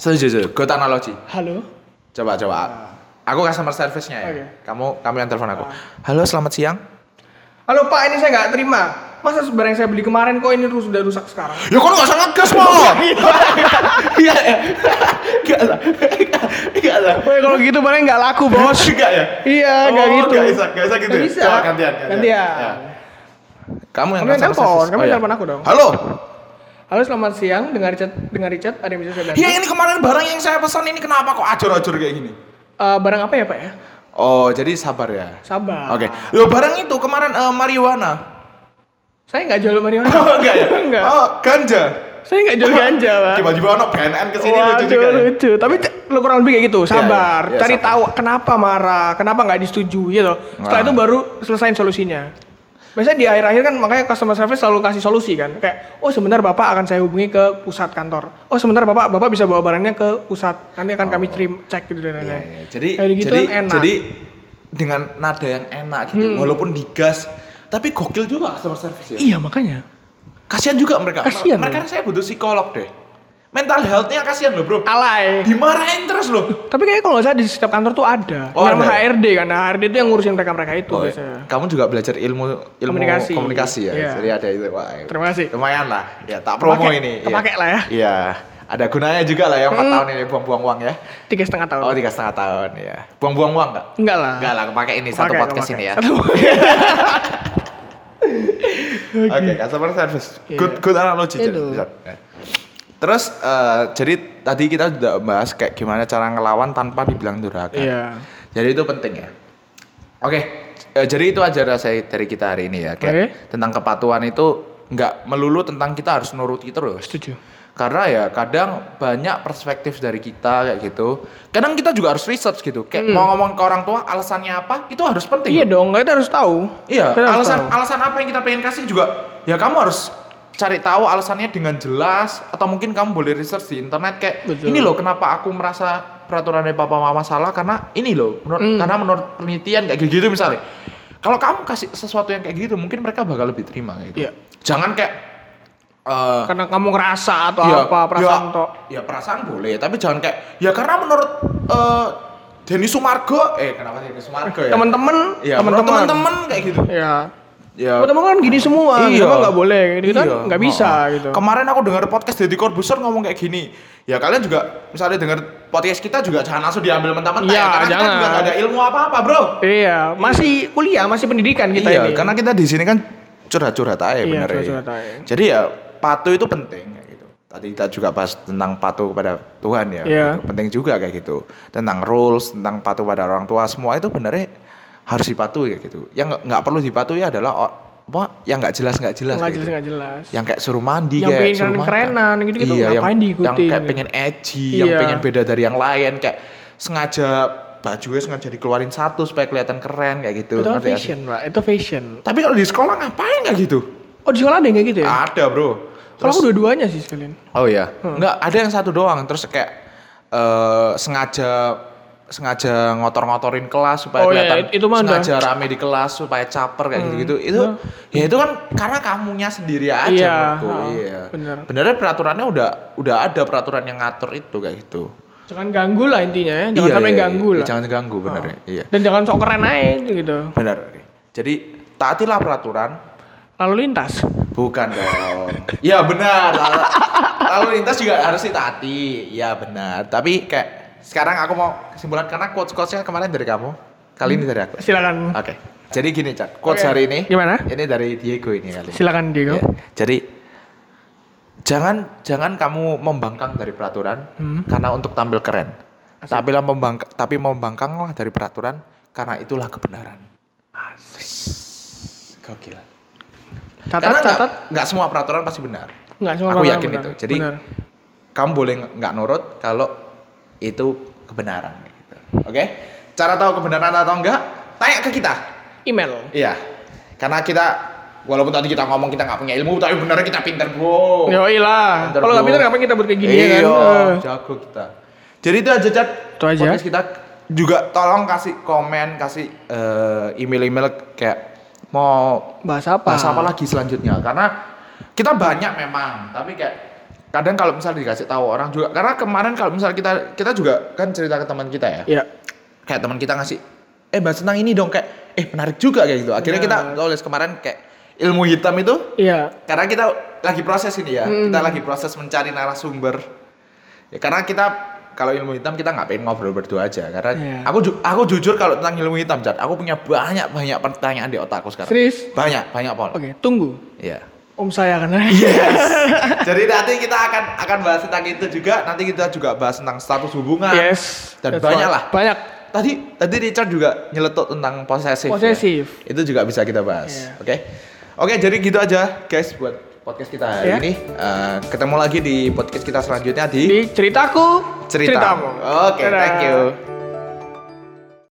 Setuju, setuju. Good analogi.
Halo.
Coba coba. Aku customer service-nya ya.
Ah. Oke. Ah.
Kamu kamu yang telepon aku. Halo, selamat siang.
Halo Pak, ini saya nggak terima. Masa barang yang saya beli kemarin kok ini rus- sudah rusak sekarang?
Ya kok lu gak usah ngegas, Mo. Iya ya. Enggak lah. Enggak lah.
Woi, kalau gitu barang nggak laku bos.
Enggak ya?
iya, nggak
Oh,
gitu.
nggak bisa- nggak bisa gitu
Nggak
ya?
bisa.
Coba gantian, gantian. Ya. Kamu yang
Kamu yang
customer
telepon,
service.
kamu
Oh,
yang
iya.
telepon aku dong.
Halo.
Halo, selamat siang. Dengar chat, dengar chat. Ada yang bisa saya bantu?
Ya ini kemarin barang yang saya pesan ini kenapa kok acur-acur kayak gini?
Eh, barang apa ya Pak ya?
Oh, jadi sabar ya.
Sabar.
Oke. Yo barang itu kemarin eh, marijuana.
Saya nggak jual marijuana.
Oh, enggak ya?
Enggak.
Oh, ganja.
Saya nggak jual ganja, Pak.
Tiba-tiba ono BNN kesini
Waduh,
lucu juga. ya.
lucu. Tapi c- lu kurang lebih kayak gitu, sabar,
iya,
cari
sabar.
tahu kenapa marah, kenapa nggak disetujui gitu. Setelah
Nah.
itu baru selesaiin solusinya. Biasanya di akhir-akhir kan makanya customer service selalu kasih solusi kan. Kayak, oh sebentar Bapak akan saya hubungi ke pusat kantor. Oh sebentar Bapak, Bapak bisa bawa barangnya ke pusat. Nanti akan kami trim cek gitu
Oh. Iya,
dan lain-lain.
iya. Jadi
Kayak gitu
jadi
kan enak. Hmm.
jadi dengan nada yang enak gitu, walaupun digas, tapi gokil juga customer service ya.
Iya makanya.
Kasihan juga mereka.
Kasihan ya?
mereka
loh.
saya butuh psikolog deh. Mental health-nya kasihan loh, Bro.
Ah. Alay.
Dimarahin terus loh.
Tapi kayaknya kalau nggak salah di setiap kantor tuh ada.
Oh,
Nama
ada.
HRD kan. Nah, HRD itu yang ngurusin mereka-mereka itu
Oh,
biasanya.
kamu juga belajar ilmu ilmu komunikasi,
Komunikasi.
ya.
Iya.
Jadi ada itu. Wah,
Terima kasih.
Lumayan lah. Ya, tak promo
Kepake-
ini. Iya.
kepake lah ya. Hmm.
Iya. Ada gunanya juga lah ya 4 tahun ini buang-buang uang ya.
Tiga setengah tahun.
Oh, tiga setengah tahun ya. Buang-buang uang enggak?
Enggak lah.
Enggak lah, kepake ini satu
Pakai,
podcast
pakai.
ini ya.
Nah. Satu
Oke, customer service. Good
Iya.
good analogi. Jen.
Itu.
Bisa. Terus eh, jadi tadi kita sudah bahas kayak gimana cara ngelawan tanpa dibilang durhaka.
Iya.
Jadi itu penting ya. Oke, eh, jadi itu aja saya dari kita hari ini ya. Kayak
Oke.
tentang kepatuhan itu nggak melulu tentang kita harus nuruti terus.
Setuju.
Karena ya kadang banyak perspektif dari kita kayak gitu. Kadang kita juga harus research gitu. Kayak mau ngomong ke orang tua alasannya apa itu harus penting.
Hmm. Iya dong, kita harus tahu.
Iya,
Kita harus
alasan
tahu.
alasan apa yang kita pengen kasih juga ya kamu harus cari tahu alasannya dengan jelas atau mungkin kamu boleh research di internet kayak
Betul.
ini loh kenapa aku merasa peraturan dari papa mama salah karena ini loh menurut
Hmm.
karena menurut penelitian kayak gitu misalnya. Kalau kamu kasih sesuatu yang kayak gitu mungkin mereka bakal lebih terima kayak gitu.
Iya.
Jangan kayak eh,
karena kamu ngerasa atau
Ya,
apa perasaan
ya,
toh.
ya perasaan boleh tapi jangan kayak ya karena menurut eh Denny Sumargo eh kenapa Denny Sumargo ya
Teman-teman,
ya, menurut
teman-teman.
teman-teman kayak gitu
Iya.
ya
Teman-teman kan gini semua, semua nggak boleh, gitu kan
Iya.
nggak bisa
Heeh.
gitu.
Kemarin aku dengar podcast Deddy Corbuzier ngomong kayak gini. Ya kalian juga misalnya dengar podcast kita juga jangan langsung diambil mentah-mentah
Iya,
ya, karena
jangan.
kita juga gak ada ilmu apa-apa, Bro.
Iya, masih kuliah, masih pendidikan kita
iya,
ini.
karena kita di sini kan curhat-curhat aja
Iya,
bener ya.
curhat-curhat aja.
Jadi ya patuh itu penting kayak gitu. Tadi kita juga bahas tentang patuh kepada Tuhan ya.
Iya.
gitu. Penting juga kayak gitu. Tentang rules, tentang patuh pada orang tua semua itu benernya harus dipatuhi kayak gitu. Yang nggak- nggak perlu dipatuhi adalah o- apa yang nggak jelas nggak jelas
nggak
kayak
jelas
gitu.
nggak jelas
yang kayak suruh mandi
Yang
kayak
pengen
suruh makan.
keren-kerenan gitu-gitu,
iya, yang,
ngapain diikutin
yang kayak
gitu.
pengen edgy yang
Iya.
pengen beda dari yang lain kayak sengaja bajunya sengaja dikeluarin satu supaya kelihatan keren kayak gitu
itu kan
ngerti nggak sih?
fashion pak itu fashion
tapi kalau di sekolah ngapain nggak gitu
oh di sekolah ada yang kayak gitu ya
ada bro
kalau aku dua-duanya sih sekalian
Oh iya.
Hmm.
Enggak, ada yang satu doang terus kayak eh sengaja sengaja ngotor-ngotorin kelas supaya
Oh iya,
kelihatan
it- itu mah Hmm. udah.
sengaja rame di kelas supaya caper kayak gitu-gitu. Itu ya itu kan karena kamunya sendiri aja
Iya,
menurutku.
ha,
iya.
bener.
Benernya peraturannya udah udah ada peraturan yang ngatur itu kayak gitu.
jangan ganggu lah intinya ya jangan
Iya,
sampai
iya,
ganggu
iya.
lah
Jangan ganggu bener ya. Iya.
dan jangan sok keren aja gitu
Bener. Jadi taatilah peraturan,
lalu lintas
Bukan dong. Iya benar. Lalu- Lalu lintas juga harus ditaati. Iya benar. Tapi kayak sekarang aku mau kesimpulan karena quotes quotesnya kemarin dari kamu, kali ini dari aku. Oke.
silakan
Jadi gini cak, quotes
Hmm.
hari
Oke.
ini.
Gimana?
Ini dari Diego ini kali.
silakan Diego
Ya, Jadi jangan jangan kamu membangkang dari peraturan
Hmm.
karena untuk tampil keren. Tapi membangkang tapi membangkanglah dari peraturan karena itulah kebenaran. Asik. Gokil.
catat
Karena nggak-
catat
nggak semua peraturan pasti benar.
nggak semua
Aku
orang
yakin itu. Jadi
benar.
kamu boleh nggak nurut kalau itu kebenaran. gitu. Oke? Cara tahu kebenaran atau enggak? Tanya ke kita.
email
Iya. Karena kita walaupun tadi kita ngomong kita nggak punya ilmu, tapi benernya kita pinter bro.
Yo lah,
Pinter,
Iya. kalau nggak
bro.
pinter ngapain kita buat kayak gini ya kan?
Iya,
Eh.
jago kita. Jadi itu aja Cat.
Itu aja.
Podcast kita juga tolong kasih komen, kasih eh, email-email kayak mau
Bahas apa?
bahas apa Nah, lagi selanjutnya karena kita banyak memang tapi kayak kadang kalau misalnya dikasih tahu orang juga karena kemarin kalau misalnya kita kita juga kan cerita ke teman kita ya
Iya.
kayak teman kita ngasih eh bahas tentang ini dong kayak eh menarik juga kayak gitu akhirnya kita tulis kemarin kayak ilmu hitam itu
Iya.
karena kita lagi proses ini ya
Hmm.
kita lagi proses mencari narasumber ya karena kita kalau ilmu hitam kita nggak pengen ngobrol berdua aja karena
Iya.
aku ju- aku jujur kalau tentang ilmu hitam Cat, aku punya banyak banyak pertanyaan di otakku sekarang
Serius?
banyak banyak pol
Oke, tunggu.
Iya.
Om saya kan.
Jadi nanti kita akan akan bahas tentang itu juga. Nanti kita juga bahas tentang status hubungan.
Yes.
Dan
That's
banyak
right.
lah.
Banyak.
Tadi tadi Richard juga nyeletuk tentang posesif. ya.
Posesif.
Itu juga bisa kita bahas.
Iya.
Oke. Oke, jadi gitu aja guys buat podcast kita hari
Iya.
ini. Eh, ketemu lagi di podcast kita selanjutnya di
Di ceritaku,
cerita.
ceritamu.
Oke, thank
Dadah.
you.